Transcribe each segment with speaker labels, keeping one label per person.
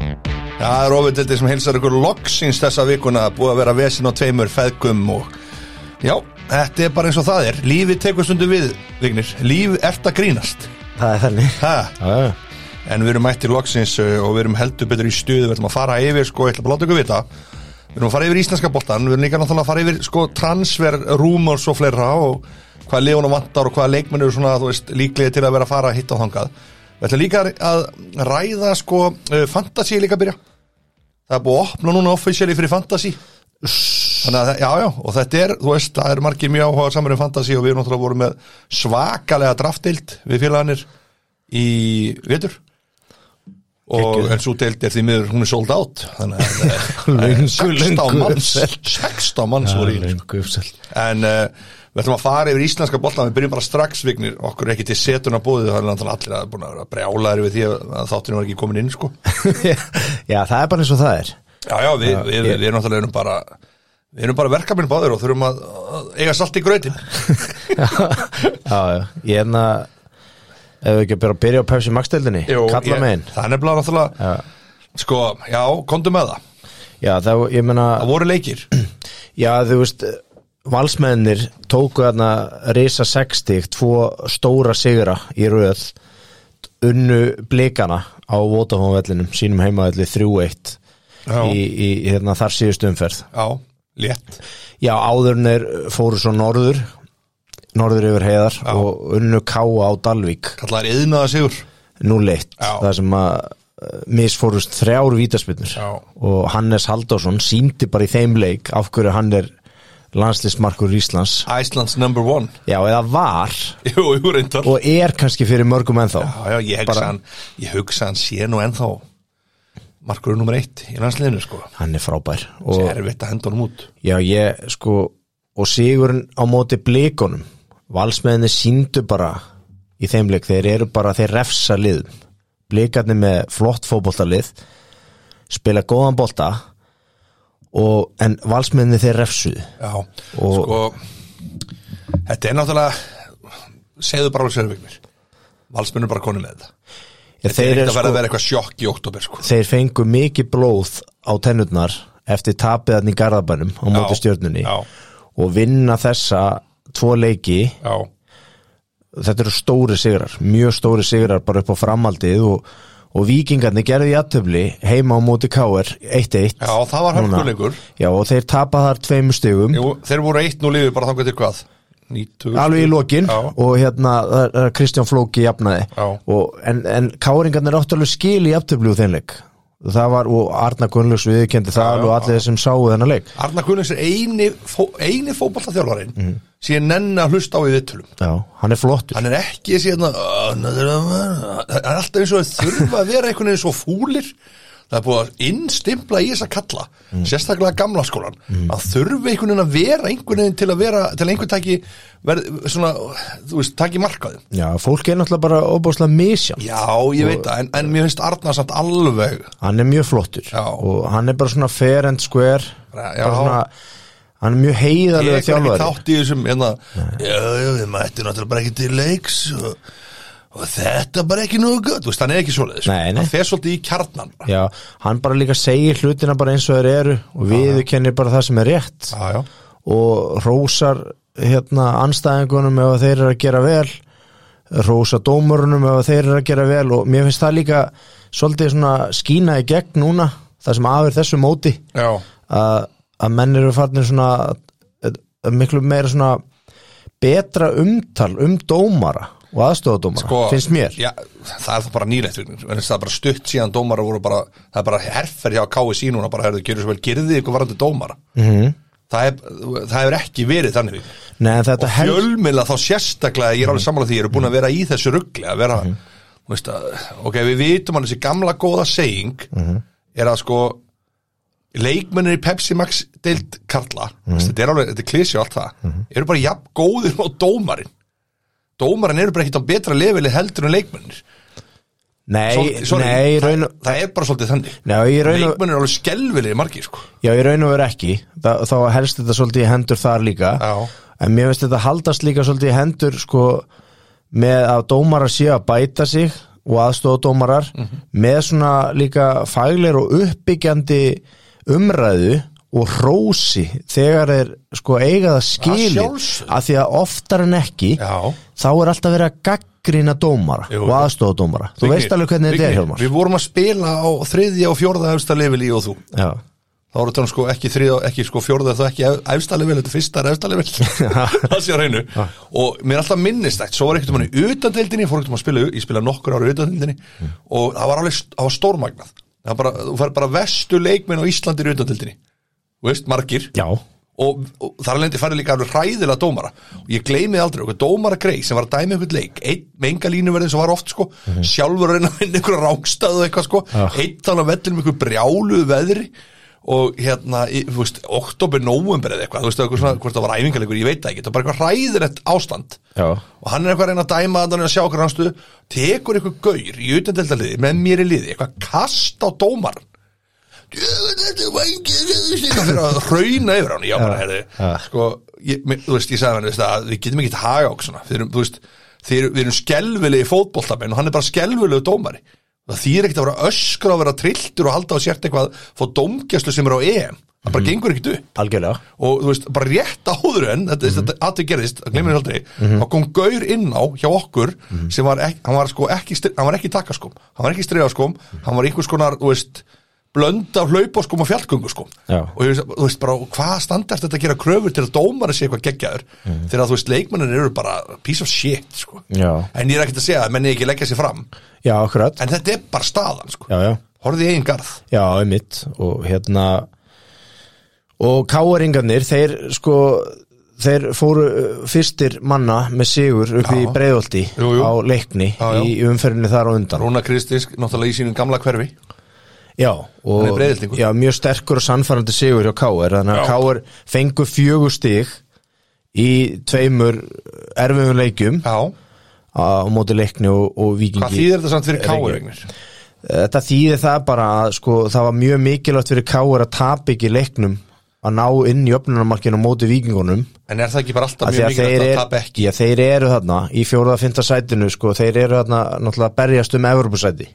Speaker 1: Já, það er ofindildið sem heilsar ykkur loksins þessa vikuna búið að vera vesin á tveimur feðgum og já, þetta er bara eins og það er lífið tekur stundu við, Vignir líf ert að grínast
Speaker 2: Það er þannig
Speaker 1: ha?
Speaker 3: Já,
Speaker 1: en við erum mættir loksins uh, og við erum heldur betur í stuðu við ætlum að fara yfir, sko, ég ætla bara að láta ykkur vita við erum að fara yfir íslenska boltan við erum líka náttúrulega að fara yfir, sko, transfer rumors og fleira og hvað leona vantar og hvað leikmenn eru svona, þú veist, líklegi til að vera að fara hitt og þangað við ætlum líka að ræða, sko, uh, fantasy er líka að byrja það er búið að opna núna officially fyrir fantasy þannig að, það- já, já, og þetta er, þú veist, það er margir mjög áhuga samar um fantasy og við erum náttúrulega voru með svakalega draftdeild við félaganir í vetur og en svo deild er því miður, hún er sold out þannig að eh,
Speaker 3: Löngu,
Speaker 1: 16
Speaker 3: löngu
Speaker 1: manns
Speaker 3: uppseld.
Speaker 1: 16 manns voru í henni, sko.
Speaker 3: Löngu uppsell
Speaker 1: En uh, við ætlum að fara yfir íslenska boltan, við byrjum bara strax vignir, okkur er ekki til setuna búið, það er náttúrulega allir að búin að vera brjálaður við því að að þátturinn var ekki komin inn, sko.
Speaker 2: Já, það er bara eins og það er
Speaker 1: Já, já, við, við, við, erum náttúrulega erum bara, við erum bara verkefnin báður og þurfum að að eiga salt í gröðin.
Speaker 2: Já, já, ég er enna Ef við ekki bara byrja á Pepsi Max deildinni Kalla með inn
Speaker 1: Það er nefnilega náttúrulega,
Speaker 2: Já,
Speaker 1: sko, já, komdu með það.
Speaker 2: já það, ég meina
Speaker 1: Það voru leikir.
Speaker 2: Já, þú veist, valsmennir tóku þarna risa 60, tvo stóra sigra í röð, unnu blikana á Votafónvellinum, sínum heimavelli 3-1
Speaker 1: Já.
Speaker 2: í, í hérna, þar síðustu umferð.
Speaker 1: Já, létt.
Speaker 2: Já, áðurnir fóru svo norður, norður yfir heiðar og unnu káa á Dalvík
Speaker 1: Kallar yðnaða sigur.
Speaker 2: 0-1,
Speaker 1: Já.
Speaker 2: það sem að eh, misfórust þrjár vítaspinnur
Speaker 1: Já.
Speaker 2: og Hannes Halldórsson síndi bara í þeim leik af hverju hann er landslismarkur Íslands
Speaker 1: Iceland's number one.
Speaker 2: Já, eða var
Speaker 1: Jú, jú, reyndar.
Speaker 2: og er kannski fyrir mörgum ennþá
Speaker 1: Já, já, ég hugsa
Speaker 2: Bara-
Speaker 1: hann, ég hugsa hann sé nú ennþá markurinn nummer eitt í landsliðinu, sko.
Speaker 2: Hann er frábær
Speaker 1: Það
Speaker 2: og,
Speaker 1: er erfitt að henda honum út.
Speaker 2: Já, ég sko og sigurinn á móti blikunum valsmeðinni síndu bara í þeim leik, þeir eru bara þeir refsa lið, blikarnir með flott fótboltalið spila góðan bolta og, en valsmeðinni þeir refsuðu
Speaker 1: Já,
Speaker 2: Og-
Speaker 1: sko, þetta er náttúrulega, segðu bara alveg sérvignir, valsmennur bara konum með þetta.
Speaker 2: þeir,
Speaker 1: Þeir
Speaker 2: eru
Speaker 1: eru að vera
Speaker 2: sko-
Speaker 1: að vera eitthvað sjokk í oktober, sko.
Speaker 2: þeir fengu mikið blóð á tennurnar eftir tapiðan í garðabænum á móti stjörnunni
Speaker 1: Já,
Speaker 2: og vinna þessa tvo leiki
Speaker 1: já,
Speaker 2: þetta eru stóri sigrar, mjög stóri sigrar bara upp á framhaldið og, og vikingarnir gerði í aðtöfli heima á móti K.R. 1-1
Speaker 1: já, það var
Speaker 2: Núna.
Speaker 1: hörkuleikur.
Speaker 2: Já, og þeir tapa þar tveimur stigum
Speaker 1: Jú, þeir voru eitt nú liðið bara þangað til hvað? 90.
Speaker 2: alveg í lokin
Speaker 1: Já.
Speaker 2: og hérna það er Kristján Flóki jafnaði
Speaker 1: Já.
Speaker 2: og, en, en K.R.ingarnir áttu alveg skil í aðtöfli úr þeim leik það var, og Arna Gunnlaugs viðkendi það alveg og allir þeir sem sáu þennan leik
Speaker 1: Arna Kunnings er eini, fó, eini fótballtaþjálfarin
Speaker 2: Mhm.
Speaker 1: mm. síðan nenni að hlusta á í viðtölum.
Speaker 2: Já, hann er flottur
Speaker 1: hann er ekki síðan að hann er alltaf eins og þeir þurfa að vera einhvern veginn svo fúlir það er búið að innstimpla í þessa kalla
Speaker 2: Mm.
Speaker 1: sérstaklega gamla skólan að þurfa einhvern veginn að vera einhvern veginn til að vera, til að einhvern taki verð, svona, þú veist, taki markaðum
Speaker 2: Já, fólk er náttúrulega bara óbúslega misján
Speaker 1: já, ég veit það, en, en mér finnst Arnar samt alveg
Speaker 2: hann er mjög flottur
Speaker 1: Já.
Speaker 2: og hann er bara svona fair and square
Speaker 1: Bara, já.
Speaker 2: bara svona, hann er mjög
Speaker 1: ég
Speaker 2: heiðalega
Speaker 1: er ekki
Speaker 2: þjálfari
Speaker 1: þátt í þessum hérna, já, já, við mættum náttúrulega bara ekki til leiks og, og þetta bara ekki nógu gott, þú veist, hann er ekki svoleiðis
Speaker 2: Nei, nei.
Speaker 1: hann fer svolítið í kjarnan bara.
Speaker 2: já, hann bara líka segir hlutina bara eins og þeir eru og viðurkennir bara það sem er rétt
Speaker 1: já, já
Speaker 2: og rósar hérna anstæðingunum ef að þeir eru að gera vel rósa dómurunum ef að þeir eru að gera vel og mér finnst það líka svolítið svona skína í gegn núna það sem afir þessu móti
Speaker 1: Já,
Speaker 2: að, að menn eru farnir svona að- að miklu meira svona betra umtal um dómara og aðstofadómara,
Speaker 1: sko,
Speaker 2: finnst mér
Speaker 1: já, það er það bara nýlegt fyrir mér, en það er bara stutt síðan dómara voru bara, það er bara herfer hjá KSI núna bara, herðu, gerðu svo vel, gerði ykkur varandi dómara
Speaker 2: Mhm.
Speaker 1: -hmm. það, er, það hefur ekki verið þannig við.
Speaker 2: Nei, en þetta hel...
Speaker 1: fjölmila þá sérstaklega, ég er
Speaker 2: Mm.
Speaker 1: alveg sammála því ég eru búin að vera í þessu ruggli að vera,
Speaker 2: Mm-hmm.
Speaker 1: þú veist að, ok, við vitum að þessi gamla góða seying
Speaker 2: Mm-hmm.
Speaker 1: er að sko leikmennir í Pepsi Max deilt Karla, mm
Speaker 2: Mm-hmm.
Speaker 1: -hmm. þetta er alveg, þetta er klísi og allt það, eru bara jafn góðir á dómarinn dómarinn eru bara ekkert á betra lefili heldur en leikmennir
Speaker 2: nei,
Speaker 1: Svolítið- sorry,
Speaker 2: nei, í raun
Speaker 1: það, það er bara svolítið þannig
Speaker 2: Nei, í raun og,
Speaker 1: leikmennir eru alveg skelvilegir margir sko.
Speaker 2: já, í raun og veru ekki Þa, Þá helst þetta svolítið í hendur þar líka
Speaker 1: Já.
Speaker 2: En mér finnst þetta haldast líka svolítið í hendur sko, með að dómara séu að bæta sig og aðstofadómarar
Speaker 1: Mhm.
Speaker 2: með svona líka fagleir og uppbyggjandi umræðu og hrósi þegar er sko eiga það skili
Speaker 1: sjálfsögðu.
Speaker 2: að því að oftar en ekki
Speaker 1: Já.
Speaker 2: þá er alltaf verið að gaggrina dómara
Speaker 1: Jú,
Speaker 2: og
Speaker 1: jú.
Speaker 2: aðstofadómara þú veist alveg hvernig þetta er Hjálmar
Speaker 1: Við vorum að spila á þriðja og fjórða efsta level í og þú
Speaker 2: Já.
Speaker 1: þá voru þannig sko ekki þriða, ekki sko fjórða þá ekki efsta level, þetta fyrsta er efsta level það sé á reynu og mér er alltaf minnistætt, svo var einhvern veginn í utandeildinni, ég fór einhvern veginn að spila, ég spilaði nokkur ára í utandeildinni og það var alveg st- það var stórmagnað, það bara, þú fær bara vestu leikmenn á Íslandi í utandeildinni Þú veist, margir
Speaker 2: Já.
Speaker 1: og, og þar lendi færði líka alveg hræðilega dómara og ég gleymi aldrei okkur dómara grei sem var að dæmi einhvern leik einn með enga línuverðin sem var oft sko sjálfur að reyna að vinna einhverja rángstæðu og eitthvað sko
Speaker 2: Já.
Speaker 1: einn þannig að vellum einhver brjáluð veðri og hérna, í, þú veist, oktober, november eða eitthvað, þú veist, eitthvað svona, hvort það var æfingalegur, ég veit það ekki, það var bara eitthvað hræðilegt ástand
Speaker 2: Já.
Speaker 1: og hann er eitthvað að reyna að dæma þannig að sjá okkur hans stuðu, tekur eitthvað gaur í utendeltaliði með mér í liði, eitthvað kast á dómar fyrir að hrauna yfir hann, já bara herði
Speaker 2: Já.
Speaker 1: sko, ég, mér- þú veist, ég sagði hann veist, að við getum ekki haga okkur svona við erum, þú veist, þeir, við erum skelvilegi fótboltamenn og hann er bara skelvilegu dómari það þýr ekkert að vera öskra að vera trilltur og halda á sért eitthvað, fá dómgæslu sem er á EM, það bara gengur ekkert upp
Speaker 2: Algjörlega
Speaker 1: og þú veist, bara rétt áður en þetta,
Speaker 2: Mhm.
Speaker 1: mm þetta aðtöð gerðist, það glemir aldrei þá kom Gaur inn á hjá okkur
Speaker 2: Mhm.
Speaker 1: sem var, ek, hann var sko ekki stri- hann var ekki takaskum, hann var ekki strefaskum
Speaker 2: Mhm.
Speaker 1: hann var einhvers konar, þú veist blönd af hlaupaskum og fjallgönguskum
Speaker 2: Já.
Speaker 1: og ég veist, þú veist bara, hvað standart þetta að gera kröfur til að dómari sé eitthvað geggjaður þegar að þú veist, leikmennin eru bara piece of shit, sko
Speaker 2: Mhm. Já.
Speaker 1: en ég er ekkert að segja að menni ekki leggja sér fram
Speaker 2: Já, akkurat
Speaker 1: en þetta er bara staðan, sko
Speaker 2: Já, já
Speaker 1: horfði í eigin garð
Speaker 2: Já, einmitt og hérna og káeringarnir, þeir sko þeir fóru uh, fyrstir manna með sigur upp í
Speaker 1: Já.
Speaker 2: breiðolti
Speaker 1: Jú, jú.
Speaker 2: á leikni
Speaker 1: Já, já.
Speaker 2: í umferðinu þar á undan
Speaker 1: Rúna Kristins, náttúrulega í sínum gamla hverfi
Speaker 2: Já,
Speaker 1: Hann er
Speaker 2: og
Speaker 1: Breiðhyltingur.
Speaker 2: já, mjög sterkur og sannfærandi sigur hjá káer þannig
Speaker 1: Já.
Speaker 2: að káer fengu fjögur stig í tveimur erfum leikjum
Speaker 1: Já,
Speaker 2: á móti leikni og, og vikingi
Speaker 1: hvað þýðir þetta samt fyrir
Speaker 2: Reykjavík.
Speaker 1: káur
Speaker 2: Þetta þýðir það bara að sko, það var mjög mikilvægt fyrir Káur að tapa ekki leiknum að ná inn í öfnunarmarkinu á móti vikingunum
Speaker 1: En er það ekki bara alltaf
Speaker 2: af því
Speaker 1: mjög
Speaker 2: að þeir,
Speaker 1: mikilvægt að tapa
Speaker 2: er,
Speaker 1: ekki?
Speaker 2: já, þeir eru þarna í fjóruða fynda sætinu sko, þeir eru þarna náttúrulega að berjast um Evropasæti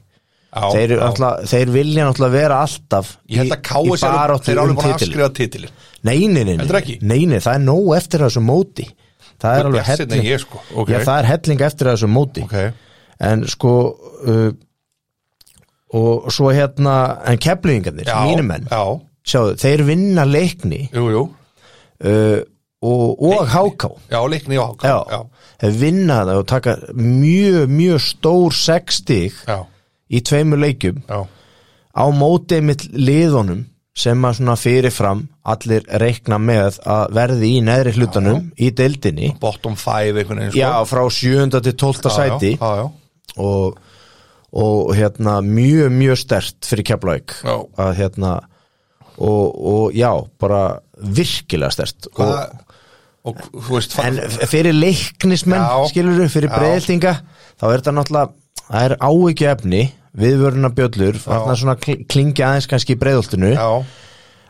Speaker 1: Já,
Speaker 2: þeir, eru
Speaker 1: já.
Speaker 2: náttúrulega- þeir vilja náttúrulega vera alltaf
Speaker 1: Ég held að
Speaker 2: í
Speaker 1: Káis er
Speaker 2: baráttu
Speaker 1: þeir eru
Speaker 2: um
Speaker 1: alveg búin að
Speaker 2: titil
Speaker 1: afskrifa titilin
Speaker 2: neini, neini,
Speaker 1: Heldur ekki?
Speaker 2: neini, það er nóg eftir af þessu móti það er
Speaker 1: Guð
Speaker 2: alveg
Speaker 1: blessi,
Speaker 2: helling
Speaker 1: nei, ég sko, ok.
Speaker 2: já, það er helling eftir af þessu móti
Speaker 1: Ok,
Speaker 2: en sko uh, og svo hérna en keflingarnir,
Speaker 1: já,
Speaker 2: mínum menn
Speaker 1: Já,
Speaker 2: sjáðu, þeir vinna leikni
Speaker 1: jú, jú
Speaker 2: uh, og, og háká
Speaker 1: Já, leikni og háká
Speaker 2: já, þeir vinna það og taka mjög, mjög stór sextig
Speaker 1: já,
Speaker 2: í tveimur leikjum
Speaker 1: já,
Speaker 2: á mótið mitt liðunum sem að svona fyrirfram allir reikna með að verði í neðri hlutanum í deildinni
Speaker 1: bottom five einhvern veginn sko.
Speaker 2: já, frá 7. til 12. sæti
Speaker 1: Já, já,
Speaker 2: og, og hérna mjög mjög stert fyrir Keflavík
Speaker 1: Já.
Speaker 2: að hérna og, og já, bara virkilega stert
Speaker 1: já.
Speaker 2: og,
Speaker 1: Og, og þú veist,
Speaker 2: en
Speaker 1: en,
Speaker 2: f- fyrir leiknismenn
Speaker 1: Já.
Speaker 2: skilur við, fyrir
Speaker 1: Já.
Speaker 2: breyldinga þá er þetta náttúrulega, það er áhyggja efni viðvöruna bjöllur, þarna svona kl- klingja aðeins kannski í breyðoltinu
Speaker 1: já,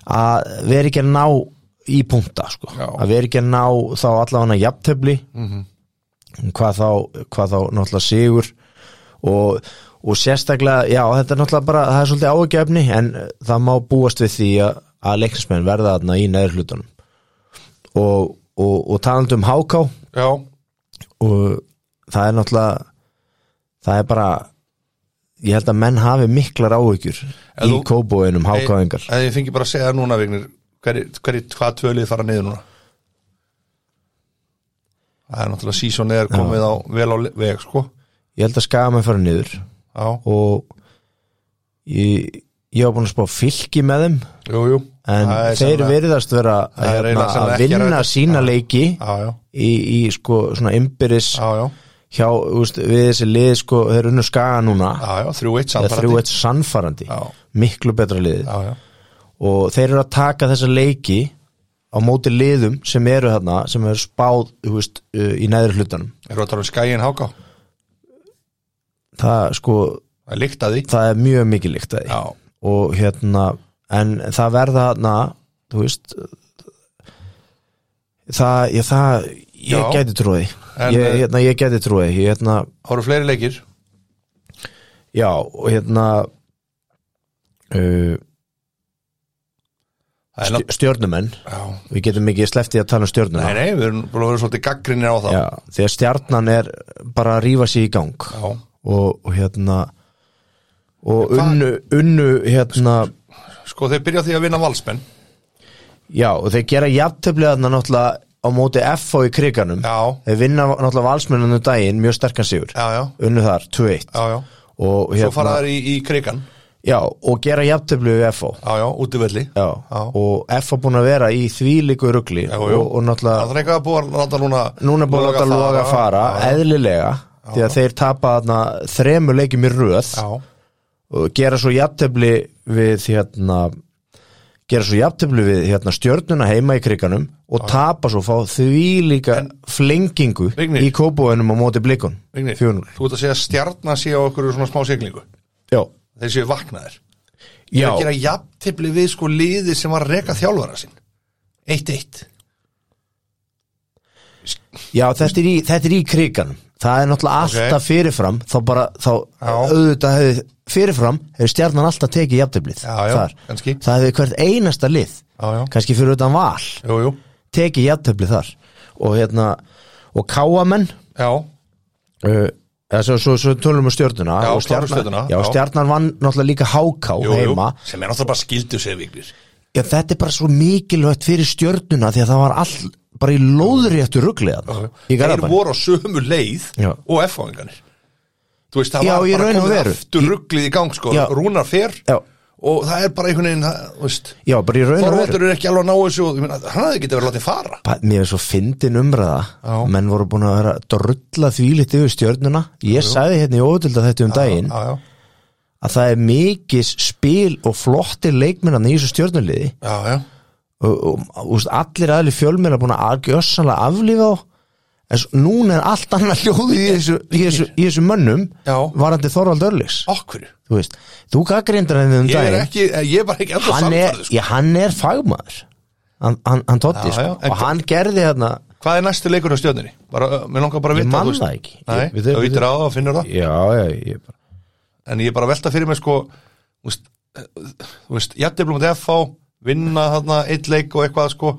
Speaker 2: að við erum ekki að ná í punta sko.
Speaker 1: Já. Mhm.
Speaker 2: að við erum ekki að ná þá allavega jafntefli mm -hmm. hvað, þá, hvað þá náttúrulega sigur og, og sérstaklega já þetta er náttúrulega bara, það er svolítið áhugjefni en eh, það má búast við því að, að leiknismenn verða þarna í neður hlutunum og, og, og talandi um háká
Speaker 1: já
Speaker 2: og það er náttúrulega það er bara ég held að menn hafi miklar áhugjur
Speaker 1: En
Speaker 2: í
Speaker 1: þú-
Speaker 2: kóbóinum hákáðingar
Speaker 1: En ég fengi bara að segja núna, Vignir Hverju, hver, hvað tvölið fara niður núna? Það er náttúrulega sísón eða komið á vel á le- veg, sko
Speaker 2: ég held að skaga með fara niður
Speaker 1: Já,
Speaker 2: og ég, ég var búin að spá fylki með þeim
Speaker 1: jú, jú
Speaker 2: en
Speaker 1: Það er
Speaker 2: þeir
Speaker 1: sennilega-
Speaker 2: virðast vera
Speaker 1: Það er
Speaker 2: hérna,
Speaker 1: eiginlega sennilega
Speaker 2: að
Speaker 1: ekki að
Speaker 2: vinna
Speaker 1: ræða-
Speaker 2: sína leiki
Speaker 1: Já, já,
Speaker 2: í, í sko svona ymbiris
Speaker 1: já, já
Speaker 2: hjá úst, við þessi lið sko þeir unnu skaga núna
Speaker 1: Já, já, 3-1
Speaker 2: það
Speaker 1: samfærandi
Speaker 2: þrjú eitt sannfarandi
Speaker 1: Já.
Speaker 2: miklu betra liðið
Speaker 1: Já, já,
Speaker 2: og þeir eru að taka þessa leiki á móti liðum sem eru þarna sem eru spáð þú veist, uh, í neðri hlutanum
Speaker 1: eru að tala um skæin háká Það
Speaker 2: það sko
Speaker 1: er líkt að því
Speaker 2: það er mjög mikið líkt að því
Speaker 1: Já,
Speaker 2: og hérna en það verða hérna þú veist það, ég, það, ég
Speaker 1: Já.
Speaker 2: gæti trúið
Speaker 1: En,
Speaker 2: ég,
Speaker 1: eh,
Speaker 2: hérna, ég gæti trúið ég, hérna,
Speaker 1: það eru fleiri leikir
Speaker 2: já, og hérna uh,
Speaker 1: Það er nátt-
Speaker 2: stjörnumenn
Speaker 1: Já.
Speaker 2: við getum ekki sleftið að tala um
Speaker 1: Nei,
Speaker 2: stjörnumenn
Speaker 1: nei, við erum búin að vera svolítið gaggrinir á það
Speaker 2: já, því að stjarnan er bara að rífa sig í gang
Speaker 1: Já.
Speaker 2: og, og hérna og
Speaker 1: Hvað-
Speaker 2: unnu, unnu hérna
Speaker 1: Sko, þeir byrja á því að vinna valsmenn
Speaker 2: Já, og þeir gera jafntöflið þarna náttúrulega á móti FO í kriganum
Speaker 1: Já.
Speaker 2: Þeir vinna náttúrulega valsmennunum daginn mjög sterkan sigur
Speaker 1: Já, já,
Speaker 2: Unnu þar, 2-1
Speaker 1: já, já
Speaker 2: og, hérna-
Speaker 1: Svo fara þær í, í krigan
Speaker 2: já, og gera jafntöflið við FO
Speaker 1: Já, já, út í velli
Speaker 2: já.
Speaker 1: Já.
Speaker 2: Og FO búin að vera í þvílíku rugli
Speaker 1: Já,
Speaker 2: og,
Speaker 1: já.
Speaker 2: og náttúrulega
Speaker 1: Það er eitthvað að búa að láta núna
Speaker 2: núna búin að láta
Speaker 1: fara.
Speaker 2: loga að fara eðlilega því að þeir tapa þarna þremur leikjum í röð
Speaker 1: Já,
Speaker 2: og gera svo jafntöfli við hérna gera svo jafntöfli við hérna stjörnuna heima í kriganum og tapa svo fá því líka flengingu
Speaker 1: Vignir.
Speaker 2: í kópóinum á móti blikun
Speaker 1: Vignir,
Speaker 2: 400
Speaker 1: þú ert að segja að stjarnan sé á okkur svona smá siglingu
Speaker 2: já,
Speaker 1: Þeir séu vaknaðir
Speaker 2: já,
Speaker 1: Það gera jafntefli við sko liði sem var að reka þjálfara sinn 1-1
Speaker 2: já þetta, er í, þetta er í kriganum það er náttúrulega
Speaker 1: Ok.
Speaker 2: alltaf fyrirfram þá bara, þá
Speaker 1: Já.
Speaker 2: auðvitað hefði fyrirfram hefur stjarnan alltaf tekið jafntöflið
Speaker 1: Já, já,
Speaker 2: þar,
Speaker 1: kannski.
Speaker 2: það hefði hvert einasta lið
Speaker 1: Já, já.
Speaker 2: kannski fyrir utan val
Speaker 1: Jú, jú,
Speaker 2: tekið jafntöflið þar og hérna, og káamenn
Speaker 1: já,
Speaker 2: uh, eða svo, svo, svo tölum við stjórnuna
Speaker 1: Já,
Speaker 2: og
Speaker 1: klárum Stjörnuna,
Speaker 2: já,
Speaker 1: já.
Speaker 2: stjarnan vann náttúrulega líka háká
Speaker 1: jú, jú
Speaker 2: heima
Speaker 1: Sem er náttúrulega bara skildu sig viknir
Speaker 2: já, þetta er bara svo mikilvægt fyrir stjórnuna því að það var all, bara í lóðréttu ruglið í
Speaker 1: Þeir
Speaker 2: Garðabæn
Speaker 1: voru á sömu leið
Speaker 2: Já.
Speaker 1: og F-fáingarnir Þú veist, það
Speaker 2: Já, í
Speaker 1: var bara
Speaker 2: raun og veru.
Speaker 1: aftur rugglið í gang sko
Speaker 2: Já.
Speaker 1: Rúnar fer
Speaker 2: Já.
Speaker 1: og það er bara einhvern veginn, það, þú veist
Speaker 2: já, bara í raun og veru
Speaker 1: Þorvaldur er ekki alveg að ná þessu og, ég meina, hann hafði ekki verið látið fara
Speaker 2: Ba- mér er svo fyndin umræða
Speaker 1: Já.
Speaker 2: menn voru búin að vera að drulla þvílitt yfir stjörnuna ég sagði hérna í óvölda þetta um daginn
Speaker 1: já, já,
Speaker 2: að það er mikið spil og flottir leikmennan í þessu stjörnuliði
Speaker 1: já, já,
Speaker 2: og, og, og úst, allir aðli fjölmiðla búin að gjössanlega aflífa á en svo, núna er allt annað hljóðið í þessu, í þessu, í þessu mönnum
Speaker 1: Já.
Speaker 2: varandi Þorvald Örlíks
Speaker 1: okkur
Speaker 2: þú veist, þú gaggrindar henni um
Speaker 1: ég er
Speaker 2: daginn
Speaker 1: ekki, eh, ég er bara ekki enda
Speaker 2: hann er,
Speaker 1: samfærður sko.
Speaker 2: já, hann er fagmaður hann, hann, hann
Speaker 1: Já,
Speaker 2: tótti sko.
Speaker 1: já, en-
Speaker 2: og hann gerði hérna
Speaker 1: hvað er næstu leikur á stjórnirni? bara, uh, mér langar bara að
Speaker 2: Ég
Speaker 1: vita
Speaker 2: man
Speaker 1: þú veist.
Speaker 2: það ekki.
Speaker 1: nei,
Speaker 2: Ég- við
Speaker 1: þú
Speaker 2: þau- við
Speaker 1: vitir á það og finnur það
Speaker 2: já, já, ég bara
Speaker 1: en ég er bara að velta fyrir mig sko þú veist, eh, þú veist, jættiblum til FH vinna þarna, eitt leik og eitthvað sko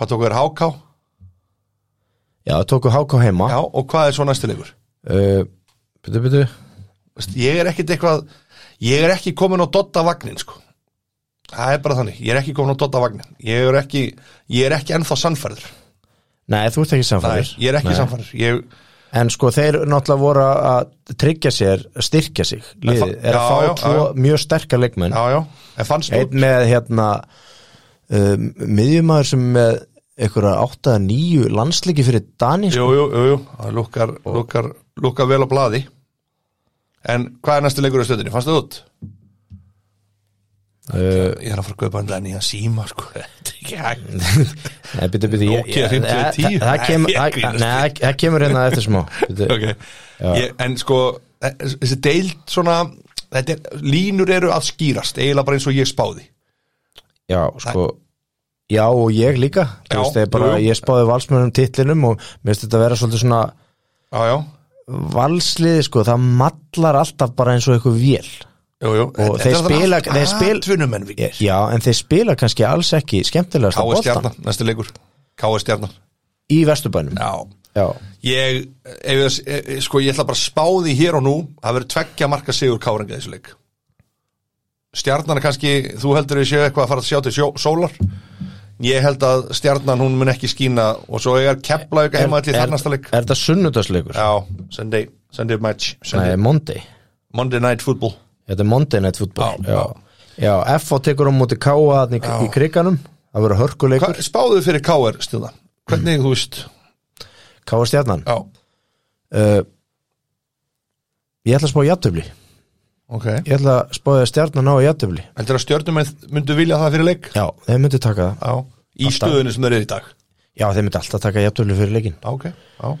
Speaker 1: hvað tók þér háká
Speaker 2: já, það tóku háká heima
Speaker 1: já, og hvað er svo næstu leikur?
Speaker 2: uh, byrju, byrju
Speaker 1: Þú veist, ég er ekkit eitthvað ég er ekki komin á dotta vagnin sko það er bara þannig, ég er ekki komin á dotta vagnin ég er ekki, ég er ekki ennþá sannfærður
Speaker 2: nei, þú ert ekki
Speaker 1: Nei,
Speaker 2: samfæður
Speaker 1: ég er ekki sannfærður ég,
Speaker 2: En sko þeir náttúrulega voru að tryggja sér, styrkja sig liðið,
Speaker 1: fa-
Speaker 2: er að
Speaker 1: já,
Speaker 2: fá
Speaker 1: já,
Speaker 2: tvo mjög sterka leikmenn
Speaker 1: já, já, en fannst þú
Speaker 2: einn með hérna um, miðjumæður sem með einhverja 8-9 landsleiki fyrir Dani
Speaker 1: jú,
Speaker 2: sko.
Speaker 1: jú, jú, jú, það lukkar, lukkar, lukkar vel á blaði en hvað er næstu leikur á stöðinni, fannst þú út?
Speaker 2: uh,
Speaker 1: ég er að fara að kaupa hann nýja síma sko, þetta er ekki hægt
Speaker 2: Nei, byrju, byrju ég-
Speaker 1: Nokia
Speaker 2: ég-
Speaker 1: 5010.
Speaker 2: það- það kemur-
Speaker 1: Nei, ég
Speaker 2: það-
Speaker 1: grínast.
Speaker 2: nei, það- það kemur hérna eftir smá Bíddu.
Speaker 1: ok, ég, en sko e- þessi deild svona þetta er, línur eru að skýrast eiginlega bara eins og ég spáði
Speaker 2: Já, sko Já og ég líka
Speaker 1: Já,
Speaker 2: já, veist, ég, bara,
Speaker 1: jú, jú.
Speaker 2: ég spáði valsmönnum titlinum og mér finnst þetta að vera svolítið svona
Speaker 1: já, já,
Speaker 2: valsliði sko, það mallar alltaf bara eins og eitthvað vél
Speaker 1: Jú, jú,
Speaker 2: Og þeir spila- þeir spila-
Speaker 1: Atvinnumenn við K.S.
Speaker 2: Já, en þeir spila kannski alls ekki skemmtilegast að bolta
Speaker 1: Stjarnan, næsti leikur K.S. Stjarnan
Speaker 2: í vesturbænum
Speaker 1: Já
Speaker 2: Já,
Speaker 1: Ég, ef, þess- e, e, sko, ég ætla bara að spá því hér og nú Það verður tveggja marka sigur Káringa í þessu leik Stjarnan er kannski, þú heldur þið séu eitthvað að fara að sjá til sjó, sólar Ég held að stjarnan hún mun ekki skína Og svo er kepla auka heima allir
Speaker 2: er,
Speaker 1: þar næsta
Speaker 2: er
Speaker 1: leik
Speaker 2: þetta sunnudagsleikur?
Speaker 1: Já, Sunday, Sunday match Sunday,
Speaker 2: Nei, Monday
Speaker 1: Monday night football
Speaker 2: Þetta er Monday Night Football
Speaker 1: Já,
Speaker 2: já. já FH tekur á móti K.A. þarna í, í kriganum Það verður
Speaker 1: Hva,
Speaker 2: hörkuleikur
Speaker 1: Spáðu fyrir K.R. stjúna Hvernig, þú veist
Speaker 2: K.A. stjarnan
Speaker 1: Já,
Speaker 2: uh, Ég ætla að spá jafntöfli Ég
Speaker 1: ok
Speaker 2: ætla að spá að stjarnan á jafntöfli
Speaker 1: Heldur að stjörnumenn myndu vilja það fyrir leik?
Speaker 2: Já, þeir myndi taka það
Speaker 1: Já, í
Speaker 2: Alltaf.
Speaker 1: stöðunni sem þeir eru í dag
Speaker 2: Já, þeir myndi alltaf taka jafntöfli fyrir leikin
Speaker 1: Já, ok, já,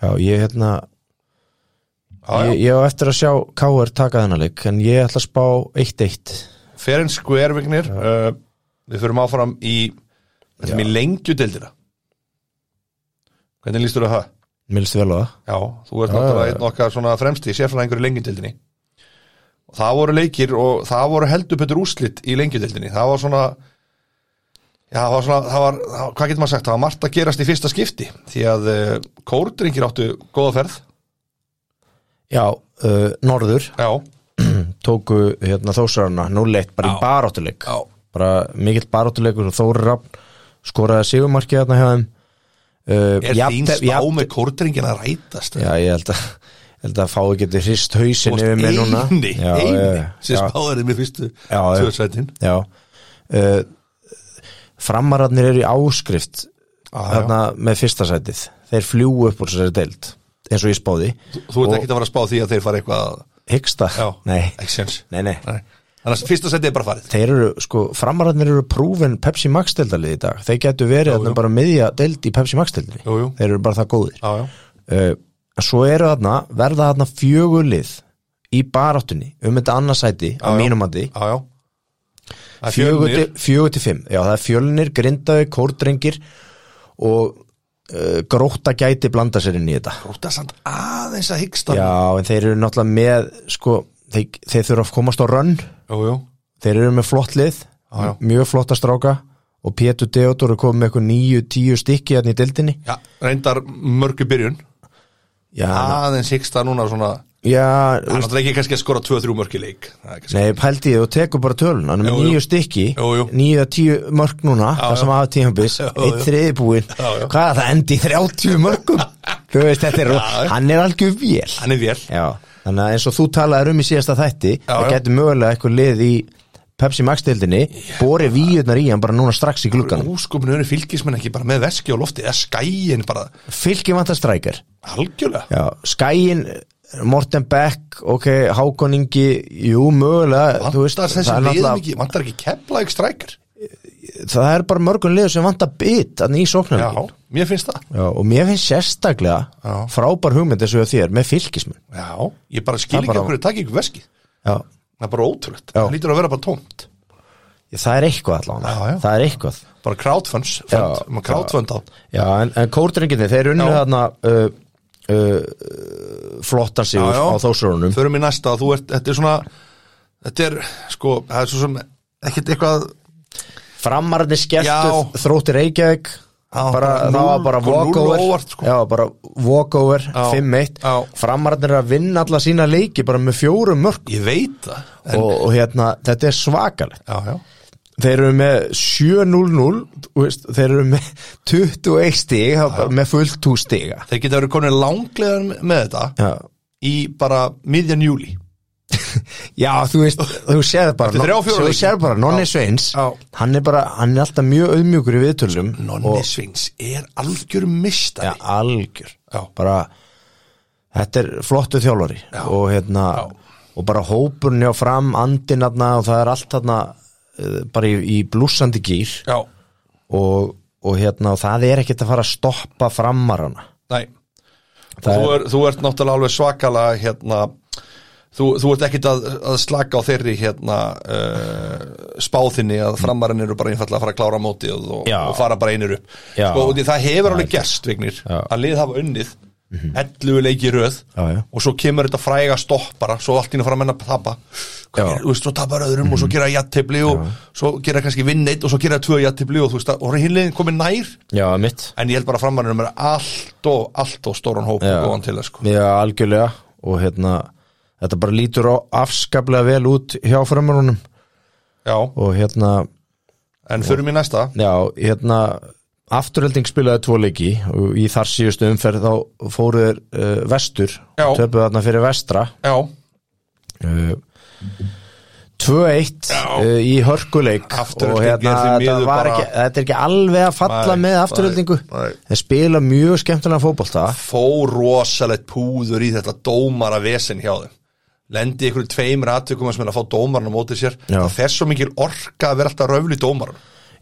Speaker 2: Já, ég hérna
Speaker 1: já, já.
Speaker 2: Ég, ég á eftir að sjá K.R. taka þennan leik En ég ætla að spá 1-1
Speaker 1: Fair and square vignir uh, Við förum áfram í Þetta er mér lengju deildina Hvernig lístur þú á það?
Speaker 2: Mér líst vel á það
Speaker 1: Já, þú ert
Speaker 2: Já, já,
Speaker 1: náttúrulega
Speaker 2: já.
Speaker 1: einn okkar svona fremsti sérfræðingur í lengju deildinni það voru leikir og það voru heldur betur úslit í lengjudeildinni það var svona Já, það var svona, það var, það- hvað getur maður sagt, það var margt að gerast í fyrsta skipti því að uh, kórdringir áttu góða ferð,
Speaker 2: Já, uh, Norður
Speaker 1: já,
Speaker 2: tóku hérna þósarana 0-1 bara
Speaker 1: Já.
Speaker 2: í baráttuleik
Speaker 1: Já.
Speaker 2: bara mikill baráttuleikur og Þóri Rafn skoraði sigurmarkið þarna hjá þeim uh,
Speaker 1: er
Speaker 2: jafntef-
Speaker 1: þín spá
Speaker 2: jafntef-
Speaker 1: með kórdringin að rætast
Speaker 2: Já, ég held að held að fái geti hrist
Speaker 1: Þú
Speaker 2: hausin yfir
Speaker 1: varst
Speaker 2: mig núna
Speaker 1: eini,
Speaker 2: já,
Speaker 1: eini
Speaker 2: já,
Speaker 1: sem
Speaker 2: já,
Speaker 1: spáður með fyrstu
Speaker 2: Já, já.
Speaker 1: tvörsætin
Speaker 2: já. Uh, framararnir eru í áskrift þarna með fyrsta sætið þeir fljú upp úr þessari deild eins og ég spáði
Speaker 1: Þú ert
Speaker 2: Og-
Speaker 1: ekkert að fara að spá því að þeir fara eitthvað að-
Speaker 2: hyggsta,
Speaker 1: Já,
Speaker 2: nei,
Speaker 1: ekki sens
Speaker 2: nei, nei
Speaker 1: Nei. Þannig að fyrsta seti er bara farið
Speaker 2: þeir eru, sko, framararnir eru prúfin Pepsi Max deildalið í dag, þeir getur verið þarna
Speaker 1: jú.
Speaker 2: bara miðja deild í Pepsi Max deildinni
Speaker 1: Jú, jú,
Speaker 2: þeir eru bara það góðir
Speaker 1: já, já
Speaker 2: uh, svo eru þarna, verða þarna fjögulið í baráttunni um þetta annarsæti á
Speaker 1: Já, já.
Speaker 2: mínum andi
Speaker 1: Já, já Það er
Speaker 2: fjögur
Speaker 1: fjölnir
Speaker 2: til- fjögur til fimm, já það er fjölnir grindaði, kórdrengir og uh, gróta gæti blanda sér inn í þetta
Speaker 1: Rúta samt aðeins að hyggsta
Speaker 2: já en þeir eru náttúrulega með sko, þeir, þeir þurfa að komast á rönn
Speaker 1: Jú, jú,
Speaker 2: þeir eru með flott lið
Speaker 1: Já, já.
Speaker 2: mjög flotta stráka og Pétur Deodor er komið með eitthvað nýju, tíu stykki hérna í dildinni
Speaker 1: já, reyndar mörgu byrjun
Speaker 2: já,
Speaker 1: Aðeins hyggsta núna svona
Speaker 2: já
Speaker 1: Það er náttúrulega ekki kannski að skora 2-3 mörg í leik Það er kannski-
Speaker 2: Nei, pældi ég og tekur bara tölun Hann er með
Speaker 1: Jú, jú.
Speaker 2: nýju stykki,
Speaker 1: Jú, jú.
Speaker 2: nýju að tíu mörg núna Það sem hafa tíðanbis, eitt þriði búin
Speaker 1: Já, já.
Speaker 2: Hvað er það endi í 30 mörgum? Þú veist, þetta er,
Speaker 1: Já, já.
Speaker 2: hann er algjör vél
Speaker 1: Hann er vel
Speaker 2: Já, þannig að eins og þú talaðir um í síðasta þætti Það
Speaker 1: já.
Speaker 2: getur mögulega eitthvað lið í Pepsi Max-deildinni Bori víjurnar í hann bara núna strax í glugganum
Speaker 1: Úskupinu eru fylgismenn ekki bara með veski og lofti eða skæin bara
Speaker 2: Fylki vantar strækir
Speaker 1: algjörlega
Speaker 2: Já, Skæin, Morten Beck, ok, Hákon Ingi Jú, mögulega, þú veist
Speaker 1: Vantar þessi
Speaker 2: það er
Speaker 1: liðum
Speaker 2: náttúrulega-
Speaker 1: ekki, vantar ekki kepla ekki strækir
Speaker 2: það er bara mörgum liður sem vantar bit í
Speaker 1: Já,
Speaker 2: sóknarleikin
Speaker 1: mér finnst það
Speaker 2: Já, og mér finnst sérstaklega
Speaker 1: Já.
Speaker 2: frábær hugmynd þessu að þér með fylgismun
Speaker 1: Já, ég bara skil
Speaker 2: Það
Speaker 1: ekki
Speaker 2: bara-
Speaker 1: af hverju takk ekki veskið
Speaker 2: Já.
Speaker 1: Það er bara ótrúlegt,
Speaker 2: Já.
Speaker 1: það lítur að vera bara tómt
Speaker 2: það er eitthvað allavega
Speaker 1: Já, já.
Speaker 2: það er eitthvað
Speaker 1: Bara crowdfunds,
Speaker 2: Já.
Speaker 1: fund, maður crowdfund á
Speaker 2: já, en, en kórdrenginni, þeir unnu
Speaker 1: Já.
Speaker 2: þarna uh, uh, uh, flottan sigur
Speaker 1: Já, já.
Speaker 2: á þósarunum
Speaker 1: Förum í næsta, þú ert, þetta er svona Þetta er, sko, það er svo sem Ekkert eitthvað
Speaker 2: framarni
Speaker 1: Já.
Speaker 2: skelltu þrótti Reykjavík
Speaker 1: Já,
Speaker 2: bara,
Speaker 1: bara
Speaker 2: það var
Speaker 1: núll-
Speaker 2: bara
Speaker 1: sko, núll
Speaker 2: walkover
Speaker 1: óvart, sko.
Speaker 2: já, bara walkover,
Speaker 1: Já.
Speaker 2: 5-1
Speaker 1: Já.
Speaker 2: framarnir er að vinna alla sína leiki bara með fjórum mörg
Speaker 1: Ég veit það en,
Speaker 2: og, og hérna, þetta er svakalegt
Speaker 1: Já, já,
Speaker 2: þeir eru með 7-0-0 þú veist, þeir eru með 21 stig það er bara með fullt 2 stiga
Speaker 1: þeir geta verið konir langlegar með þetta
Speaker 2: já.
Speaker 1: Í bara miðjan júli
Speaker 2: já, þú veist, þú sér bara
Speaker 1: Eftir þrjá, fjóra
Speaker 2: þú
Speaker 1: leiki.
Speaker 2: sér bara, Nonni
Speaker 1: Já.
Speaker 2: Sveins
Speaker 1: Já.
Speaker 2: hann er bara, hann er alltaf mjög auðmjúkur í viðtölum
Speaker 1: Nonni
Speaker 2: og
Speaker 1: Svins er algjör
Speaker 2: ja,
Speaker 1: mistari
Speaker 2: algjör
Speaker 1: Já.
Speaker 2: bara, þetta er flottu þjálfari
Speaker 1: Já.
Speaker 2: og hérna og bara hópurinn hjá fram, andinn þarna og það er allt þarna eh, bara í, í blúsandi gýr
Speaker 1: Já,
Speaker 2: og, og hérna, og það er ekkert að fara að stoppa framarana
Speaker 1: nei
Speaker 2: Það
Speaker 1: þú, er, þú ert náttúrulega alveg svakala hérna Þú, þú ert ekkit að, að slaka á þeirri hérna uh, spáðinni að framarinn eru bara einfallega að fara að klára mótið og,
Speaker 2: Mm. Já.
Speaker 1: og fara bara einir upp
Speaker 2: Já.
Speaker 1: sko, og því það hefur alveg gerst vignir
Speaker 2: Já. Mhm.
Speaker 1: að lið hafa unnið 11 leiki í röð
Speaker 2: Já, já.
Speaker 1: og svo kemur þetta fræga stoppara svo allt ína fara að menna að tapa Hvað
Speaker 2: Já. Mhm.
Speaker 1: gerir- þú veist, svo tapar öðrum og svo gera jattefli og svo gera kannski vinn eitt og svo gera tvö jattefli og þú veist að og hinlegin komið nær
Speaker 2: Já, mitt
Speaker 1: en ég held bara að framarinnum er allt og allt og stóran hóp og
Speaker 2: Já.
Speaker 1: góðan til það sko
Speaker 2: Já, algjörlega og hérna þetta bara lítur á afskaplega vel út hjá framarunum
Speaker 1: Já,
Speaker 2: og hérna,
Speaker 1: en förum í næsta
Speaker 2: já, hérna afturhelding spilaði tvo leiki og í þar síðustu umferð þá fóru þeir uh, vestur,
Speaker 1: Já.
Speaker 2: töpuðu þarna fyrir vestra
Speaker 1: Já,
Speaker 2: uh, 2-1
Speaker 1: Já.
Speaker 2: uh, í hörkuleik
Speaker 1: Afturelding
Speaker 2: og hérna,
Speaker 1: er því
Speaker 2: þetta,
Speaker 1: miður
Speaker 2: var
Speaker 1: bara-
Speaker 2: ekki, þetta er ekki alveg að falla
Speaker 1: Nei,
Speaker 2: með
Speaker 1: nei,
Speaker 2: afturheldingu
Speaker 1: nei.
Speaker 2: þeir spila mjög skemmtilega fótbolta
Speaker 1: fó rosalegt púður í þetta dómara vesen hjá þeim Lendi ykkur tveimur aðtökum sem er að fá dómaran á móti sér
Speaker 2: Já.
Speaker 1: Það fer svo mikil orka að vera alltaf röfli dómaran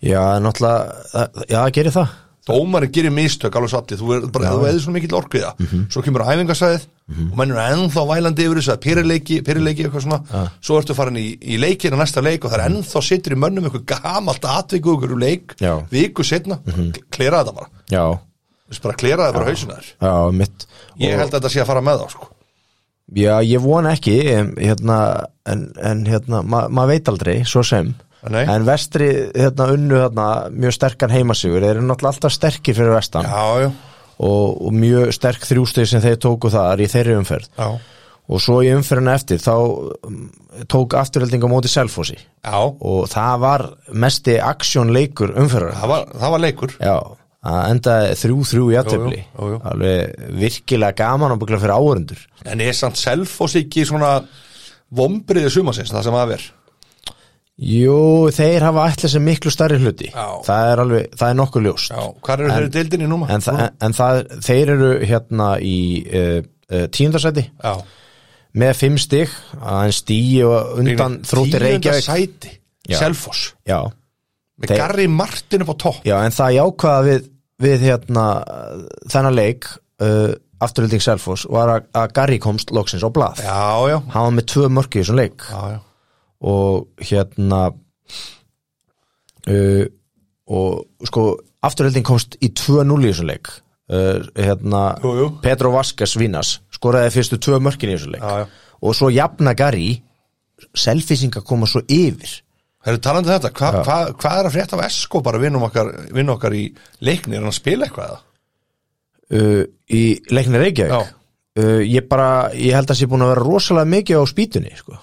Speaker 2: já, náttúrulega, það- já, gerir það
Speaker 1: Dómarin gerir mistök alveg satti Þú er bara, þú eður svona mikil orku í það
Speaker 2: Mhm.
Speaker 1: Svo kemur æfingasæðið og mennur ennþá vælandi yfir þess að pyrirleiki, pyrirleiki eitthvað svona Svo ertu farin í, í leikin og næsta leik og það er
Speaker 2: Mhm.
Speaker 1: ennþá sittur í mönnum eitthvað gamalt atviku ykkur úr leik
Speaker 2: Já. Mhm.
Speaker 1: viku setna, mm klera þetta bara
Speaker 2: já,
Speaker 1: Þú veist bara klera þetta bara hausina þér
Speaker 2: Já, mitt
Speaker 1: Ég held að þetta sé að fara með þá sko
Speaker 2: Já, ég vona ekki em, hérna, en, en hérna, ma- maður veit aldrei svo sem,
Speaker 1: Nei.
Speaker 2: en vestri hérna, unnu hérna, mjög sterkan heimasigur þeir eru náttúrulega alltaf sterkir fyrir vestan
Speaker 1: Já, já,
Speaker 2: og, og mjög sterk þrjústið sem þeir tóku þar í þeirri umferð
Speaker 1: já,
Speaker 2: og svo í umferðina eftir þá mm, tók afturhelding á móti Selfossi
Speaker 1: já.
Speaker 2: og það var mesti aksjónleikur umferðar
Speaker 1: Það, var, það var leikur
Speaker 2: Já, það endaði þrjú-þrjú í aðtöfli
Speaker 1: Jú, jú, jú, jú.
Speaker 2: alveg virkilega gaman og byggla fyrir áhörundur
Speaker 1: En er samt Selfoss ekki svona vombriði sumasins, það sem að vera
Speaker 2: Jú, þeir hafa ætlað sem miklu starri hluti
Speaker 1: Já.
Speaker 2: það er alveg, það er nokkuð ljóst
Speaker 1: Já, hvað eru þeirri deildinni núma?
Speaker 2: en, það, en, en það, þeir eru hérna í uh, uh, tíundarsæti
Speaker 1: Já,
Speaker 2: með fimm stig aðeins stíi og undan þrótti
Speaker 1: Tíunda
Speaker 2: Reykjavík
Speaker 1: sæti,
Speaker 2: Já.
Speaker 1: Selfoss
Speaker 2: Já,
Speaker 1: Með
Speaker 2: Þeir-
Speaker 1: Garri Martin upp á topp
Speaker 2: Já, en það jákvæða við, við hérna, uh, þennan leik uh, afturhilding Selfoss var að, að Garri komst loksins á blað
Speaker 1: Já, já,
Speaker 2: hann var með tvö mörki í þessum leik
Speaker 1: já, já.
Speaker 2: og hérna uh, og sko afturhilding komst í 2-0 í þessum leik uh, hérna
Speaker 1: Jú, jú.
Speaker 2: Pedro Vasquez Vinas skoraði fyrstu tvö mörkin í þessum leik
Speaker 1: Já, já.
Speaker 2: og svo jafna Garri selfisinga koma svo yfir
Speaker 1: Herru, talandi um þetta, hva, hva, hvað er að frétta af Esko bara vinnum okkar, vinn okkar í leikni, er hann að spila eitthvað? eða?
Speaker 2: uh, í leikni Reykjavík
Speaker 1: Já.
Speaker 2: uh, ég bara, ég held að það sé búin að vera rosalega mikið á spýtunni sko.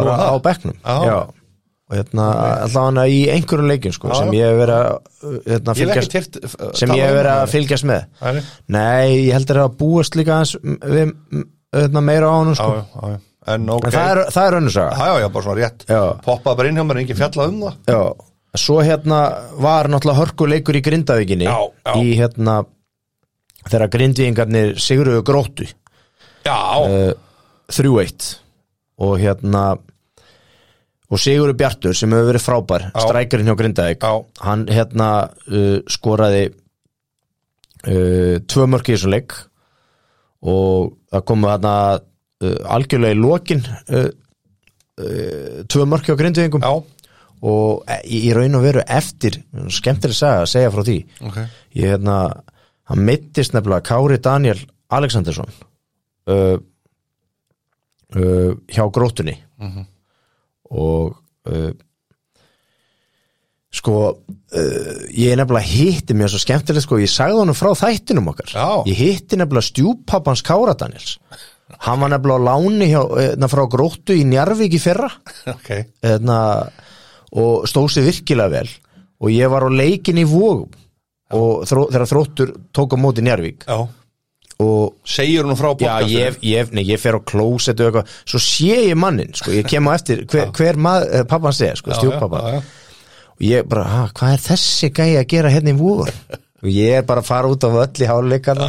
Speaker 2: bara
Speaker 1: Nú, það?
Speaker 2: á bekknum
Speaker 1: Já.
Speaker 2: og hérna, allavega í einhverjum leikjum sko,
Speaker 1: Já,
Speaker 2: sem
Speaker 1: já.
Speaker 2: ég hef verið að uh, hérna,
Speaker 1: Ég hef
Speaker 2: fylgjast,
Speaker 1: ekki eh, tært
Speaker 2: sem ég hef verið að fylgjast með
Speaker 1: um Æri?
Speaker 2: nei, ég held að það hafa búast líka aðeins m- við m- hérna, meira á honum
Speaker 1: Já,
Speaker 2: sko.
Speaker 1: já, já, já. en ok
Speaker 2: en það er, það er önnur saga
Speaker 1: Já, já, já, bara svona rétt
Speaker 2: Já.
Speaker 1: Poppaði bara inn hjá mér, engin fjallað um það
Speaker 2: já. svo hérna var náttúrulega hörkuleikur í Grindavíkinni
Speaker 1: Já, já.
Speaker 2: í hérna þegar Grindvíkingarnir siguruðu gróttu
Speaker 1: Já,
Speaker 2: Eh. 3-1 og hérna og Sigurður Bjartur sem hefur verið frábær strækirinn hjá Grindavík
Speaker 1: Já.
Speaker 2: hann hérna uh, skoraði uh, tvö mörki í þessum leik og það komu hérna uh, algjörlega í lokin uh, uh, tvö mörki á Grindavíkum
Speaker 1: já,
Speaker 2: og e- í, í raun og veru eftir skemmtileg saga að segja frá því
Speaker 1: ok
Speaker 2: ég hérna hann mittist nefnilega Kári Daniel Alexandersson uh, uh, hjá grótunni og uh, sko uh, ég nefnilega hitti mér svo skemmtilegt sko, ég sagði honum frá þættinum okkar
Speaker 1: Já.
Speaker 2: ég hitti nefnilega stjúpappans Kára Daniels hann var nefnilega á láni hjá, hérna, frá gróttu í Njarvík í fyrra
Speaker 1: Ok,
Speaker 2: hérna, og stóð sér virkilega vel og ég var á leikin í vógum og þró, þegar þróttur tók á móti Njarvík
Speaker 1: já
Speaker 2: og
Speaker 1: Segir hún frá
Speaker 2: já,
Speaker 1: podcastinu
Speaker 2: ég, ég, nei, ég fer á klóset og eitthvað, svo sé ég mannin sko, ég kem á eftir, hver, hver maður, pappan segja, sko, stjúpappa
Speaker 1: já, já,
Speaker 2: og ég bara, ha, hvað er þessi gæi að gera hérna í vógum og ég er bara að fara út á öll í háluleikana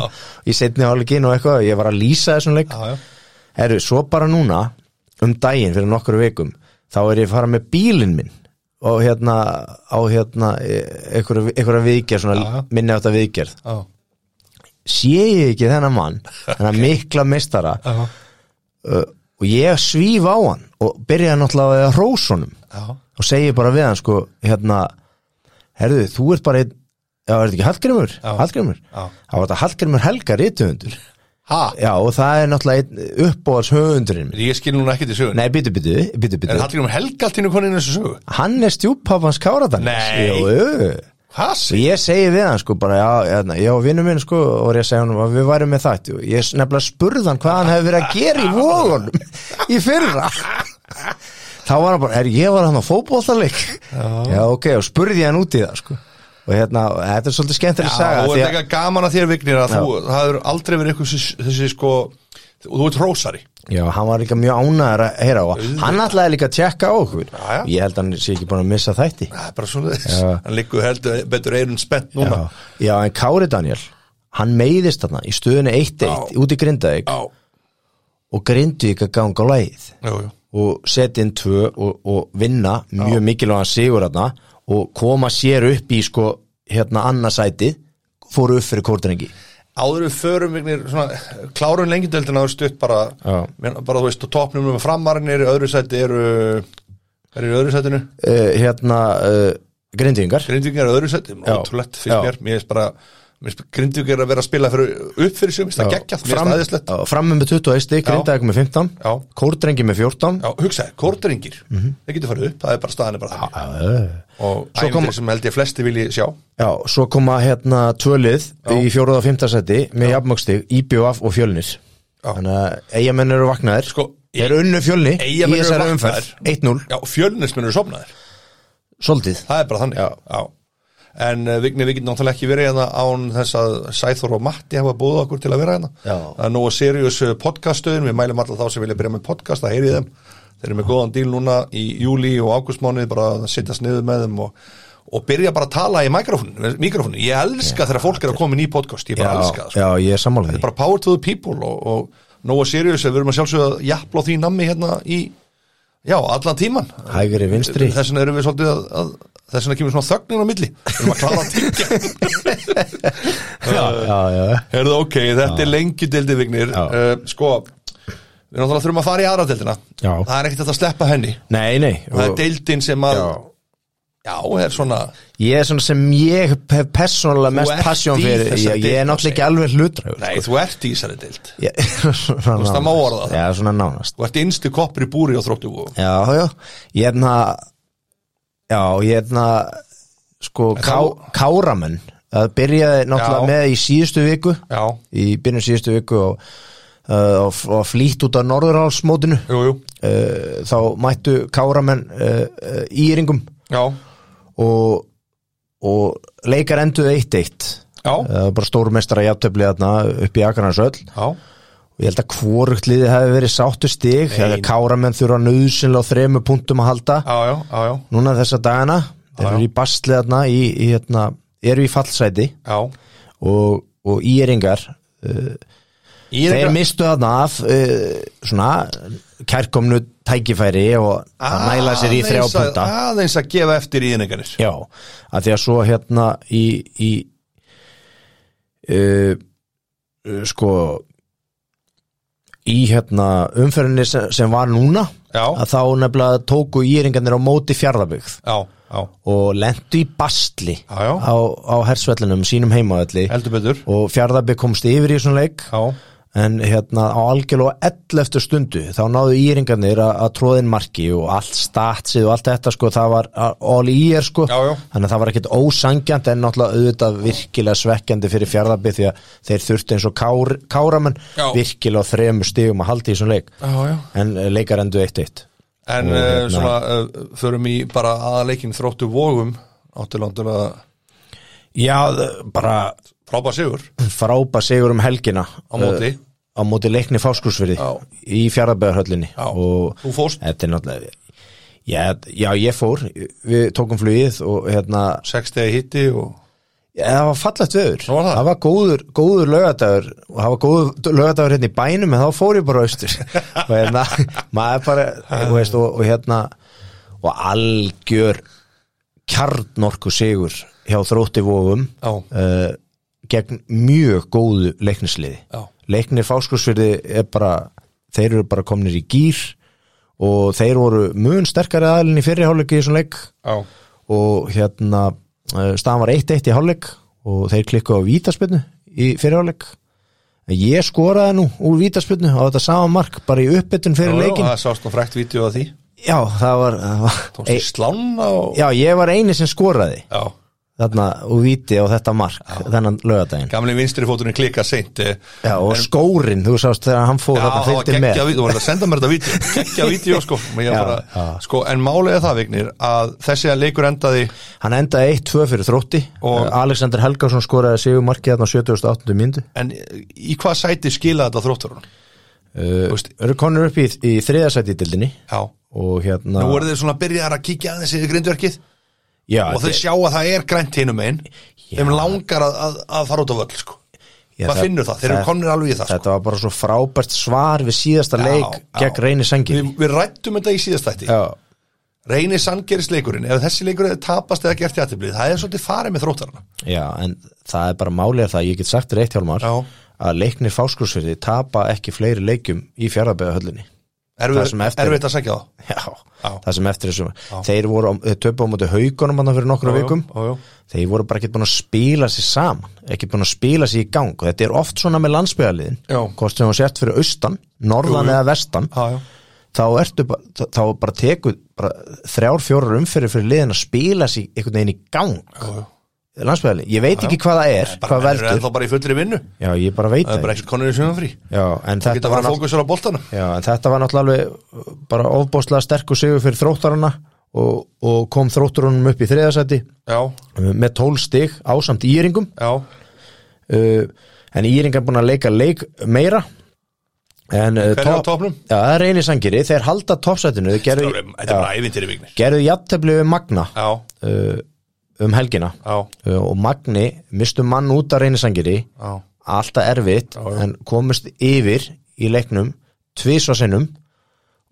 Speaker 2: í setni háluleikin og eitthvað, ég var að lýsa þessum leik
Speaker 1: já, já.
Speaker 2: Herru, svo bara núna um daginn fyrir nokkru vikum þá er ég að fara með bílinn minn og hérna á hérna e- einhverja einhverja viðgerð, svona
Speaker 1: Já, já.
Speaker 2: minni átt að viðgerð
Speaker 1: já,
Speaker 2: sé ég ekki þennan mann, þennan mikla mistara
Speaker 1: já,
Speaker 2: og ég svíf á hann og byrja náttúrulega að hrósa honum
Speaker 1: já,
Speaker 2: og segi bara við hann sko, hérna herðu, þú ert bara einn já, er þetta ekki Hallgrimur?
Speaker 1: Já.
Speaker 2: Hallgrimur?
Speaker 1: Já.
Speaker 2: Það var þetta Hallgrimur Helga rituhundur
Speaker 1: Ha,
Speaker 2: já, og það er náttúrulega einn uppbóðars höfundurinn minn.
Speaker 1: ég skil núna ekkert í sögun
Speaker 2: Nei, byttu, byttu, byttu, byttu
Speaker 1: Er Hallgrímur Helga allt henni konið í þessu sögu?
Speaker 2: hann er stjúppappans káraðan
Speaker 1: Nei.
Speaker 2: Jú,
Speaker 1: Hvað
Speaker 2: og
Speaker 1: segir?
Speaker 2: ég segi við hann sko bara, já, já, já vinnu minn sko og ég segi hann að við værum með það og ég nefnilega spurði hann hvað hann hefði verið að gera í vóðunum í fyrra þá var hann bara, er ég var hann á fótbollarleik já. ok, og spurði ég hann út í það sko og hérna, og þetta er svolítið skemmtileg saga
Speaker 1: Já, og
Speaker 2: því
Speaker 1: er
Speaker 2: að,
Speaker 1: ekki gaman að þér vignir að þú, það hefur aldrei verið eitthvað þessi, þessi sko, og þú ert hrósari
Speaker 2: já, hann var líka mjög ánæður að heyra á hann ætlaði líka að tjekka á okkur
Speaker 1: Já, já.
Speaker 2: ég held að hann sé ekki búin að missa þætti
Speaker 1: Það er bara svona þess, hann liggur heldur betur eirun spennt núna
Speaker 2: já, já, en Kári Daniel hann meiðist þarna í stöðunni 1-1
Speaker 1: Já.
Speaker 2: út í Grindavík
Speaker 1: Já,
Speaker 2: og Grindavík að ganga á læð
Speaker 1: já, já,
Speaker 2: og setja inn tvö og, og vinna mjög mikilvægan sigur þarna og koma sér upp í sko hérna annarsæti fóru upp fyrir kórtrengi
Speaker 1: áður við förum vignir svona, klárun lengjadöldin áður stutt bara,
Speaker 2: Já.
Speaker 1: Men- bara þú veist, og topnum með framarinn eru, í öðru sæti eru er í öðru sætinu,
Speaker 2: uh, Eh, hérna uh, Grindavíkar
Speaker 1: grindvíkingar eru í öðru sæti
Speaker 2: Já.
Speaker 1: ótrúlegt fyrir
Speaker 2: Já.
Speaker 1: mér, mér er bara Grindvík er að vera að spila fyrir, upp fyrir sumist það geggja, mér er
Speaker 2: fram,
Speaker 1: staðislegt
Speaker 2: já, fram með 21 stík,
Speaker 1: Já.
Speaker 2: grindaðið með 15
Speaker 1: Já.
Speaker 2: kórdrengi með 14
Speaker 1: Já, hugsaði, kortringir, mm það getur farið upp, það er bara staðan er bara það
Speaker 2: eh.
Speaker 1: og
Speaker 2: Mhm. Svo
Speaker 1: æfindir
Speaker 2: kom-
Speaker 1: sem held ég flesti vilji sjá
Speaker 2: Já, svo koma hérna tvölið í fjóruð og fymtasæti með jafnmöggstig, IBF og Fjölnir
Speaker 1: Já.
Speaker 2: Þannig að eigamenn eru vaknaðir
Speaker 1: Sko,
Speaker 2: Þeir eru unnu Fjölni í
Speaker 1: Eyjamenn eru
Speaker 2: þessari
Speaker 1: vaknaðir.
Speaker 2: umferð 1-0,
Speaker 1: Já, fjölnismenn eru sofnaðir,
Speaker 2: soldið
Speaker 1: það er bara þannig
Speaker 2: Já.
Speaker 1: En uh, Vigni, við getum náttúrulega ekki verið hérna án þess að Sæþór og Matti hafa búið okkur til að vera hérna
Speaker 2: Já.
Speaker 1: Það er nógu serious eh, podcaststöðin, við mælum alltaf þá sem vilja byrja með podcast, það heyrið þeim Þeir eru með góðan díl núna í júli og águstmánuði bara að sittast niður með þeim og, og byrja bara að tala í mikrofónu, mikrofónu. Ég elska þegar fólk er að koma inn í podcast, ég bara elska
Speaker 2: já,
Speaker 1: það sko.
Speaker 2: já, ég er sammála því
Speaker 1: bara power to the people og, og Nóa Sirius, eh, við erum að sjálfsögða að jafla á því nammi hérna í já, allan tíman
Speaker 2: Hægri vinstri
Speaker 1: þess vegna erum við svolítið að, að þess vegna kemur svona þögnin á milli við erum að klára að tyngja
Speaker 2: Já, já, já
Speaker 1: Herðu, ok, þetta er lengi dildi vignir
Speaker 2: Já.
Speaker 1: uh, sko, við náttúrulega þurfum að fara í aðra dildina
Speaker 2: Já.
Speaker 1: það er ekkert hægt að sleppa henni
Speaker 2: Nei, nei
Speaker 1: það er
Speaker 2: og-
Speaker 1: dildin sem að
Speaker 2: Já.
Speaker 1: já, er svona
Speaker 2: Ég er svona sem ég hef persónulega mest
Speaker 1: ert
Speaker 2: passjón
Speaker 1: í
Speaker 2: fyrir
Speaker 1: þessari
Speaker 2: Ég, ég er
Speaker 1: deild,
Speaker 2: náttúrulega ekki alveg hlutræður
Speaker 1: nei, þú ert í þessari dild
Speaker 2: Ég- Svona
Speaker 1: veist, það má
Speaker 2: nánast.
Speaker 1: orða það.
Speaker 2: Já, svona nánast
Speaker 1: þú ert innstu koppur í búri á þróttu og
Speaker 2: Já, já, ég hefna Já, ég hefna sko,
Speaker 1: En
Speaker 2: ká,
Speaker 1: þá-
Speaker 2: káramenn það byrjaði náttúrulega
Speaker 1: Já.
Speaker 2: með í síðustu viku
Speaker 1: já,
Speaker 2: í byrjun síðustu viku og, uh, og, og flýtt út af norðurálsmótinu uh,
Speaker 1: jú, jú,
Speaker 2: þá mættu káramenn uh, uh, í yringum
Speaker 1: já
Speaker 2: og, og leikar enduð 1-1
Speaker 1: já,
Speaker 2: Eh, Það var bara stórmestara játtöfli þarna upp í Akarnarsöll
Speaker 1: já
Speaker 2: og ég held að hvorugt liði hefði verið sáttu stig þegar káramenn þurfa nöðsynlega á þremu punktum að halda
Speaker 1: Já, já, já, já,
Speaker 2: núna þessa dagana þeir
Speaker 1: Já, já.
Speaker 2: eru í bastli þarna í, í, hérna, eru í fallsæti
Speaker 1: já.
Speaker 2: og, og íringar
Speaker 1: Ég
Speaker 2: þeir mistu þarna af uh, svona kærkomnu tækifæri og
Speaker 1: Ah,
Speaker 2: það næla sér í þrjá punta
Speaker 1: Aðeins að gefa eftir í inningarnir
Speaker 2: já, að því að svo hérna í, í uh, uh, sko í hérna umferðinni sem, sem var núna
Speaker 1: Já.
Speaker 2: að þá nefnilega tóku íringarnir á móti fjárðabyggð
Speaker 1: Já, já,
Speaker 2: og lendu í bastli
Speaker 1: Já, já.
Speaker 2: á, á hersvellinum, sínum heimavelli
Speaker 1: heldur betur
Speaker 2: og Fjarðabbi komst yfir í svona leik
Speaker 1: Já,
Speaker 2: en hérna á algjörlega 11. stundu þá náðu íringarnir að að tróðin marki og allt statsið og allt þetta sko það var a- all í er sko
Speaker 1: Já, já.
Speaker 2: þannig að það var ekkit ósangjant en náttúrulega auðvitað virkilega svekkjandi fyrir Fjarðabbi því að þeir þurftu eins og kár, káramenn
Speaker 1: Já.
Speaker 2: virkilega á þremur stigum að halda í svona leik
Speaker 1: já, já
Speaker 2: en eh, leikar endur 1-1
Speaker 1: En uh,
Speaker 2: Og, hérna-
Speaker 1: svona, uh, förum í bara aðaleikin þróttu vógum Áttilandulega
Speaker 2: Já, þ- bara
Speaker 1: frábæð sigur
Speaker 2: frápa sigur um helgina
Speaker 1: á móti
Speaker 2: á móti leikni fáskursfyrði
Speaker 1: Já.
Speaker 2: í fjárðabæðarhöllinni
Speaker 1: Já.
Speaker 2: og
Speaker 1: Þú fórst
Speaker 2: þetta er náttúrulega já, já, ég fór, við tókum flugið og hérna,
Speaker 1: 60 hitti og
Speaker 2: já, það var fallegt veður
Speaker 1: Nú var það.
Speaker 2: var góður, góður lögadagur og það var góður lögadagur hérna í bænum en þá fór ég bara austur og hérna, maður bara þú veist, og, og hérna og algjör kjarnorku sigur hjá þróttivogum
Speaker 1: Já,
Speaker 2: uh, gegn mjög góðu leiknisliði
Speaker 1: já,
Speaker 2: leiknir fáskursfyrði er bara þeir eru bara komnir í gýr og þeir voru mun sterkari aðalinn í fyrirháleik í þessum leik
Speaker 1: já
Speaker 2: og hérna eh, staðan var 1-1 í háleik og þeir klikku á vítaspinnu í fyrirháleik ég skoraði nú úr vítaspinnu á þetta sama mark bara í uppbytun fyrir
Speaker 1: Já, já,
Speaker 2: leikin
Speaker 1: Það sást nú frækt vídeo að því
Speaker 2: já það var, það var
Speaker 1: Tókst í slána og
Speaker 2: já ég var eini sem skoraði
Speaker 1: já.
Speaker 2: þarna úr víti á þetta mark þennan lögadaginn
Speaker 1: Gamli vinstri fóturinn klika seint Já,
Speaker 2: já, og skórin þú sást þegar hann fór
Speaker 1: það
Speaker 2: þarna
Speaker 1: var
Speaker 2: fylgdi með
Speaker 1: geggja vídeo, þú voru að senda mér þetta vídeo Geggja vídeo, sko, já,
Speaker 2: Já,
Speaker 1: bara,
Speaker 2: já.
Speaker 1: sko En málið er það, Vignir, að þessi að leikur endaði
Speaker 2: Hann endaði 1-2 fyrir þrótti
Speaker 1: Og-
Speaker 2: og Alexander Helgarsson skoraði sigur markið þarna á 78. myndu
Speaker 1: En í hvað sæti skila þetta þrótturinn?
Speaker 2: uh,
Speaker 1: veist-
Speaker 2: Eru konur upp í, í þriðasæti í dildinni
Speaker 1: Já
Speaker 2: og hérna
Speaker 1: Nú eru þeir svona byrjar að kíkja aðeins í grindverkið
Speaker 2: já,
Speaker 1: og þeir
Speaker 2: þe-
Speaker 1: sjá að það er grænt hinum einn þeim langar að, að, að fara út á völl sko.
Speaker 2: já,
Speaker 1: maður finnur það, þeir eru komnir alveg í það sko.
Speaker 2: Þetta var bara svo frábært svar við síðasta
Speaker 1: Já,
Speaker 2: leik
Speaker 1: já.
Speaker 2: gegn reyni
Speaker 1: sko. við,
Speaker 2: sengin
Speaker 1: við rættum þetta í síðastætti
Speaker 2: Já,
Speaker 1: reyni sangerinsleikurinn, ef þessi leikur er tapast eða gert jættiblið, það er svolítið farið með þróttarana
Speaker 2: já, en það er bara málið að það, ég get sagt reitt hjálmar
Speaker 1: Já.
Speaker 2: að leiknir fáskursfyrði tapa ekki fleiri leikjum í fjárðabæðahöllinni
Speaker 1: Erfið,
Speaker 2: Það sem eftir-
Speaker 1: erfitt að segja það
Speaker 2: Já,
Speaker 1: Já.
Speaker 2: það sem eftir þessum Þeir voru á- þeir töpu á móti haugunum hann fyrir nokkru vikum
Speaker 1: já, já.
Speaker 2: Þeir voru bara ekki búin að spila sér saman ekki búin að spila sér í gang og þetta er oft svona með landsbyðaliðin
Speaker 1: Já.
Speaker 2: hvort sem þú sért fyrir austan, norðan
Speaker 1: Jú, jú.
Speaker 2: eða vestan
Speaker 1: Já, já.
Speaker 2: þá ertu bara, þá- þá bara teku bara þrjár, fjórar umfyrir fyrir liðin að spila sér einhvern veginn í gang
Speaker 1: já.
Speaker 2: landsbyðalið, ég veit ekki hvað það er hvað
Speaker 1: Bara, er
Speaker 2: veldur,
Speaker 1: ennþá bara í fullri vinnu
Speaker 2: já ég bara veit
Speaker 1: Það er
Speaker 2: það
Speaker 1: bara ekkert konur í sumafrí
Speaker 2: já, en
Speaker 1: Geta
Speaker 2: þetta
Speaker 1: að
Speaker 2: var
Speaker 1: fara að fókusur á boltana
Speaker 2: Já, en þetta var náttúrulega alveg bara ofbóðslega sterkur sigur fyrir þróttarana og, og kom þróttarunum upp í þriðasæti
Speaker 1: Já,
Speaker 2: með tól stig ásamt íringum
Speaker 1: já,
Speaker 2: uh, en íringar búin að leika leik meira en uh,
Speaker 1: Hverjir á toppnum?
Speaker 2: Já, það er reynir sangiri, þeir halda toppsætinu þeir
Speaker 1: þetta
Speaker 2: gerðu,
Speaker 1: er bara ævintir í vignir
Speaker 2: gerðu jafntefli við Magna
Speaker 1: Já,
Speaker 2: uh, um helgina
Speaker 1: já,
Speaker 2: uh, og Magni mistu mann út af reynir sangiri
Speaker 1: já
Speaker 2: alltaf erfitt en komist yfir í leiknum tvisvarsinnum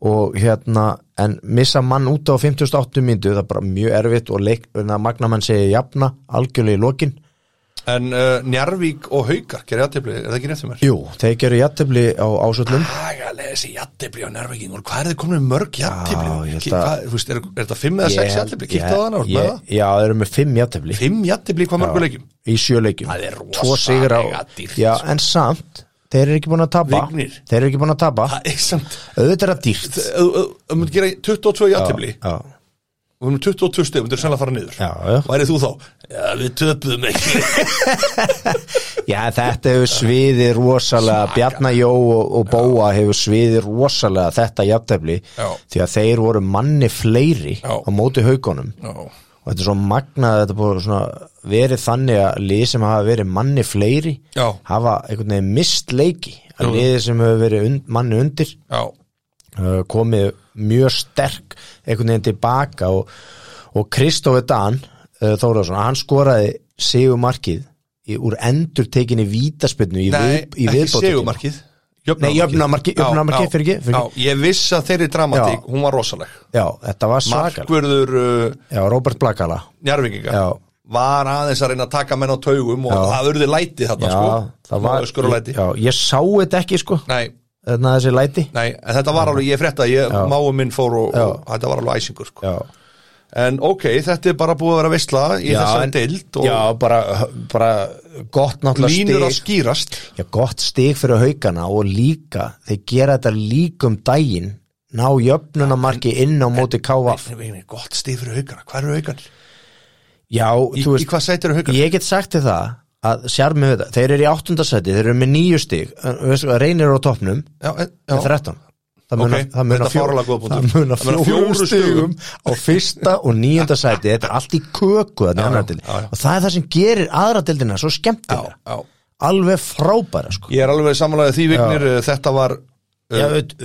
Speaker 2: og hérna en missa mann út á 58 myndu það er bara mjög erfitt og leik, magnamenn segi jafna algjörlega í lokin
Speaker 1: En uh, Njarvík og Haukar gerir jættibli, er það ekki rétt fyrir mér?
Speaker 2: Jú, þeir gerðu jættefli á ásöldum
Speaker 1: Hagalega þessi jættibli á Njarvíking og hvað er þið komin með mörg jættibli?
Speaker 2: Já, ég held að-
Speaker 1: Er, er, er þetta fimm eða sex jættibli? Kíktu á þannig, voru með það?
Speaker 2: Já, þeir eru með 5 jættefli
Speaker 1: Fimm jættibli hvað mörgu leikjum?
Speaker 2: í sjöleikjum
Speaker 1: Það er
Speaker 2: Tvo sigur á
Speaker 1: rosalega dýrt, sko.
Speaker 2: Já, en samt, þeir eru ekki búin að tapa
Speaker 1: Vignir.
Speaker 2: Þeir eru ekki búin að tapa
Speaker 1: Það er samt
Speaker 2: Auðvitað er það dýrt
Speaker 1: Þú þú myndir gera 22 jættibli
Speaker 2: Já,
Speaker 1: og við erum 22 stegum, þú myndir sennilega fara niður
Speaker 2: já, já
Speaker 1: Værið þú þá? Já, við töpuðum ekki
Speaker 2: Já, þetta hefur sviðið rosalega Bjarna Jó og, og Bóa hefur sviðið rosalega þetta jafntefli
Speaker 1: Já.
Speaker 2: því að þeir voru manni fleiri
Speaker 1: Já.
Speaker 2: á móti haugunum
Speaker 1: Já,
Speaker 2: og þetta er svo magnað að þetta búið svona verið þannig að lið sem hafa verið manni fleiri
Speaker 1: Já.
Speaker 2: hafa einhvern veginn mist leiki
Speaker 1: Jú.
Speaker 2: að liðið sem hefur verið und, manni undir
Speaker 1: já
Speaker 2: uh, komið mjög sterk einhvern veginn tilbaka og, og Kristofi Dan uh, Þóraðsson, hann skoraði sigumarkið í, úr endur tekinni vítaspinnu í,
Speaker 1: Nei,
Speaker 2: við, í
Speaker 1: ekki
Speaker 2: viðbótartíma.
Speaker 1: segumarkið
Speaker 2: Nei, jöfnunarmarkið, jöfnunarmarkið, fyrirgefðu, fyrirgefðu.
Speaker 1: já, Ég viss að þeirri dramatík,
Speaker 2: Já.
Speaker 1: hún var rosaleg
Speaker 2: Já, þetta var svakal
Speaker 1: Markverður uh,
Speaker 2: Já, Robert Blakala
Speaker 1: njárvinginga
Speaker 2: Já.
Speaker 1: Var aðeins að reyna að taka menn á taugum Og það urði læti þarna
Speaker 2: Já,
Speaker 1: sko
Speaker 2: það var
Speaker 1: Skur og læti
Speaker 2: Já, ég sá þetta ekki sko
Speaker 1: Nei,
Speaker 2: þarna þessi læti
Speaker 1: nei, en þetta var alveg, ég frétta ég, Máu minn fór og, og þetta var alveg æsingur sko.
Speaker 2: Já,
Speaker 1: En ok, þetta er bara búið að vera veistla Í
Speaker 2: já,
Speaker 1: þessari
Speaker 2: en-
Speaker 1: deild Og
Speaker 2: já bara, bara gott náttúrulega
Speaker 1: línur að
Speaker 2: stig.
Speaker 1: skýrast
Speaker 2: Já, gott stig fyrir haugana og líka, þeir gera þetta líkum daginn, ná jöfnunamarki inn á móti káfa
Speaker 1: Nei, Gott stíð fyrir haugana, hvað eru haugan?
Speaker 2: Já,
Speaker 1: Í, í
Speaker 2: þú veist,
Speaker 1: hvað sætir eru haugan?
Speaker 2: ég get sagt þér það að sjarmið þetta, þeir eru í áttundasæti þeir eru með nýju stig, en veistu hvað, reynir eru á toppnum,
Speaker 1: Já, en-
Speaker 2: með
Speaker 1: já,
Speaker 2: 13 Það muna,
Speaker 1: Ok,
Speaker 2: það muna,
Speaker 1: þetta er fáránlega góð punktur.
Speaker 2: það muna
Speaker 1: Það muna
Speaker 2: fjóru
Speaker 1: fjórum
Speaker 2: stigum á fyrsta og nýjunda sæti, þetta er allt í köku þarna í annarri deildinni.
Speaker 1: já, já.
Speaker 2: og það er það sem gerir aðra dildina svo skemmtilega,
Speaker 1: já, já
Speaker 2: alveg frábæra sko.
Speaker 1: Ég er alveg samanlega því vignir uh, Þetta var
Speaker 2: Já, veit,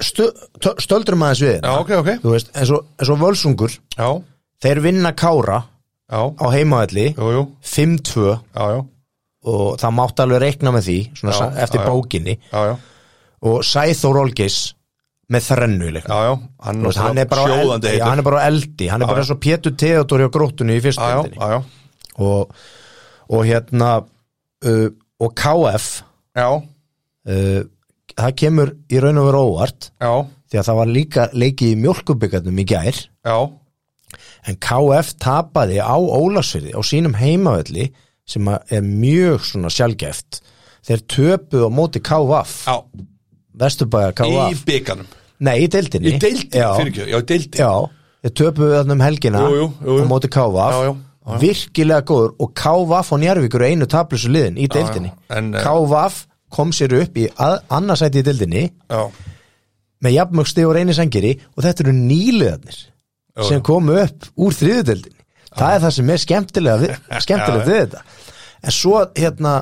Speaker 2: stö, tö- stöldrum aðeins við
Speaker 1: Eh. Já,
Speaker 2: þetta.
Speaker 1: ok, ok
Speaker 2: þú veist, eins og, eins og völsungur
Speaker 1: Já,
Speaker 2: þeir vinna kára á
Speaker 1: já,
Speaker 2: heimavalli
Speaker 1: jú, jú
Speaker 2: 5-2
Speaker 1: Já, já,
Speaker 2: og það mátti alveg reikna með því svona,
Speaker 1: Já,
Speaker 2: sa- eftir
Speaker 1: já, já.
Speaker 2: bókinni
Speaker 1: já, já,
Speaker 2: og Sæþór Olgeis með þrennu í leiknum.
Speaker 1: já, já. Hann,
Speaker 2: Þú veist, hann, er bara á
Speaker 1: sjóðandi
Speaker 2: eldi, já,
Speaker 1: heitur
Speaker 2: hann er bara á eldi hann er bara eins og Pétur Theodor hjá gróttunni í fyrstu
Speaker 1: Já, já,
Speaker 2: heldinni
Speaker 1: já, já,
Speaker 2: og, og hérna uh, og KF
Speaker 1: já,
Speaker 2: uh, það kemur í raun og veru óvart
Speaker 1: já,
Speaker 2: því að það var líka leikið í mjólkubyggarnum í gær
Speaker 1: já
Speaker 2: en KF tapaði á Ólasfyrði á sínum heimavelli sem að er mjög svona sjálfgæft þeir töpuðu á móti KVF
Speaker 1: Já,
Speaker 2: Vesturbæja
Speaker 1: í
Speaker 2: KVF
Speaker 1: bygganum
Speaker 2: nei í deildinni
Speaker 1: Í deildi,
Speaker 2: já,
Speaker 1: fyrir ekki, já, í deildi
Speaker 2: já, þeir töpuðu þarna um helgina
Speaker 1: Jú, jú, jú, jú.
Speaker 2: á móti
Speaker 1: Já,
Speaker 2: KVF
Speaker 1: já, já.
Speaker 2: virkilega góður og KVF og Njarvíkur er einu tablusu liðin í deildinni
Speaker 1: já, en, eh,
Speaker 2: KVF kom sér upp í að, annarsæti í deildinni
Speaker 1: Já,
Speaker 2: með jafnmögsti og reyni sangeri og þetta eru nýliðarnir
Speaker 1: já.
Speaker 2: sem komu upp úr þriðudeldinni það er það sem er skemmtilega við, skemmtilega við þetta en svo hérna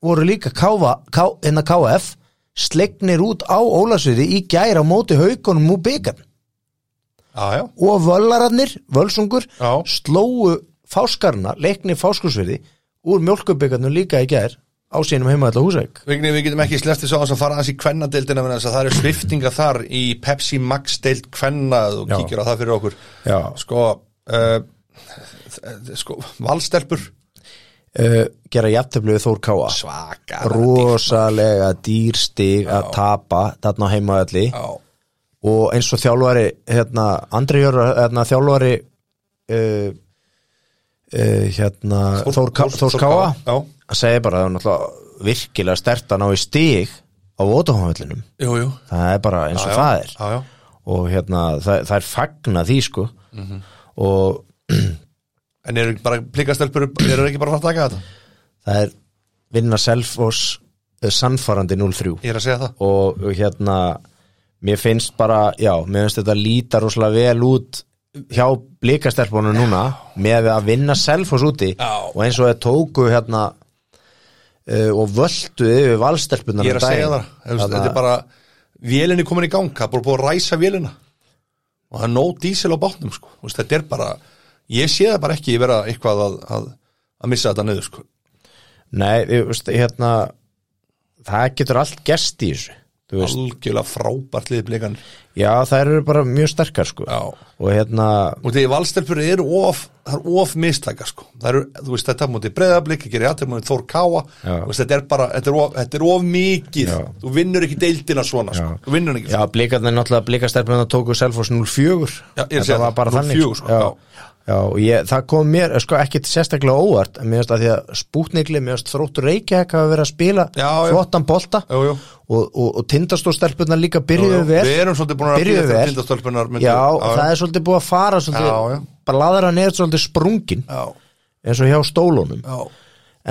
Speaker 2: voru líka KV, K, hérna KF slegnir út á Ólasviði í gæra á móti haugunum úr byggarn
Speaker 1: já, já,
Speaker 2: og völararnir, völsungur
Speaker 1: Já.
Speaker 2: slóu fáskarna, leikni fáskursviði úr mjólkubyggarnum líka í gær á sínum heimaðla húsæk
Speaker 1: Vignir, við getum ekki slefti svo að fara aðeins í kvennadeildina vegna þess að það eru sviftinga þar í Pepsi Max deild kvenna ef þú
Speaker 2: Já.
Speaker 1: kíkir á það fyrir okkur
Speaker 2: Já.
Speaker 1: Sko, uh, sko, valstelpur
Speaker 2: uh, gera jafntöflu við Þór Káa
Speaker 1: Svaka
Speaker 2: rosalega dýrstig að tapa þarna á heimaðalli
Speaker 1: Já,
Speaker 2: og eins og þjálfari hérna, Andri Jörg hérna, þjálfari uh, uh, hérna, Þór, Þór, Þór, Þór Káa
Speaker 1: Já,
Speaker 2: hann segi bara að það er náttúrulega virkilega stert að ná í stig á vótahóðvöldunum
Speaker 1: jú, jú
Speaker 2: það er bara eins og það er
Speaker 1: Já, já,
Speaker 2: og hérna það, það er fagna því sko og
Speaker 1: en eru ekki bara plikastelpur eru ekki bara að fara að taka þetta?
Speaker 2: það er vinna Selfoss eh, sannfærandi 0-3
Speaker 1: Ég er að segja það
Speaker 2: og og hérna mér finnst bara, já, mér finnst þetta líta rosalega vel út hjá blikastelpunum núna með að vinna Selfoss úti
Speaker 1: Já.
Speaker 2: og eins og þeir tóku hérna uh, og völdu yfir um valstelpunar
Speaker 1: Ég er að segja það, Þú veist, þetta er bara Vélinn er komin í ganga, bara búið að ræsa vélina og það er nóg dísil á bátnum sko. Þú veist, þetta er bara, ég sé það bara ekki vera eitthvað að, að, að missa þetta niður sko.
Speaker 2: Nei, ég veist, hérna það getur allt gerst í þessu Þú veist,
Speaker 1: algjörlega frábært liðið blikan
Speaker 2: já, það eru bara mjög sterkar sko
Speaker 1: Já.
Speaker 2: og hérna,
Speaker 1: og því valstelpur eru of það eru of mistæka sko það eru, þú veist, þetta er mútið breyðablik, ekki réttir mútið Þór Káa,
Speaker 2: Já.
Speaker 1: Þú veist, þetta er bara þetta er of, þetta er of mikið,
Speaker 2: Já.
Speaker 1: þú vinnur ekki deildina svona sko,
Speaker 2: Já.
Speaker 1: þú vinnur ekki
Speaker 2: já, blikarnir náttúrulega blikastelpunar tóku Selfoss 04
Speaker 1: Já, ég er að segja
Speaker 2: þetta var
Speaker 1: það, 0-4
Speaker 2: bara þannig sko.
Speaker 1: sko, já.
Speaker 2: já. Já, og ég, það kom mér, sko, ekkit sérstaklega óvart en mér finnst að því að spútnikli, mér finnst þróttur Reykjavík hafa verið að spila
Speaker 1: Já, já.
Speaker 2: flottan bolta
Speaker 1: Jú, jú.
Speaker 2: og, og, og tindastóðstelpunar líka byrjuðu vel
Speaker 1: við erum svolítið búin að
Speaker 2: byrjuðu
Speaker 1: bíða eftir
Speaker 2: vel.
Speaker 1: Tindastólpunar myndu-
Speaker 2: já,
Speaker 1: Já, já.
Speaker 2: það er svolítið búið að fara svolítið,
Speaker 1: Já, já.
Speaker 2: bara laðra neður svolítið sprungin
Speaker 1: já,
Speaker 2: eins og hjá stólunum
Speaker 1: já,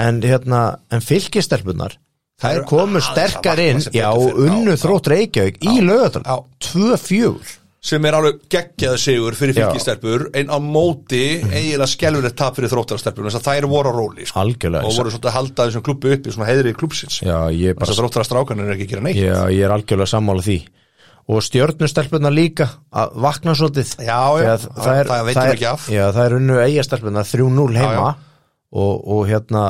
Speaker 2: en, hérna, en fylkistelpunar
Speaker 1: Þær
Speaker 2: þær
Speaker 1: eru
Speaker 2: komu
Speaker 1: aðeins að
Speaker 2: sterkar
Speaker 1: vakna
Speaker 2: inn
Speaker 1: sem
Speaker 2: já,
Speaker 1: betur
Speaker 2: og
Speaker 1: fer. Já,
Speaker 2: unnu
Speaker 1: já.
Speaker 2: þrótt Reykjavík í lögatum,
Speaker 1: Já.
Speaker 2: 2-4
Speaker 1: sem er alveg geggjaðu sigur fyrir
Speaker 2: Já.
Speaker 1: fylgistelpur en á móti eiginlega skelfilegt tap fyrir þróttarastelpur þess að þær voru að róli sko.
Speaker 2: Algjörlega.
Speaker 1: og voru svolítið að halda þessum klubbi uppi svona heiðri klubbsins
Speaker 2: já, ég bara
Speaker 1: þess að þróttarastrákanir er ekki að gera neitt
Speaker 2: Já, ég er algjörlega sammála því og stjörnustelpunar líka að vakna svolítið
Speaker 1: Já, já,
Speaker 2: Þegar
Speaker 1: það-
Speaker 2: það, er,
Speaker 1: það veitum
Speaker 2: er-
Speaker 1: við ekki af.
Speaker 2: Já, það er unnu eigastelpunar 3-0 heima
Speaker 1: Já, já.
Speaker 2: Og, og hérna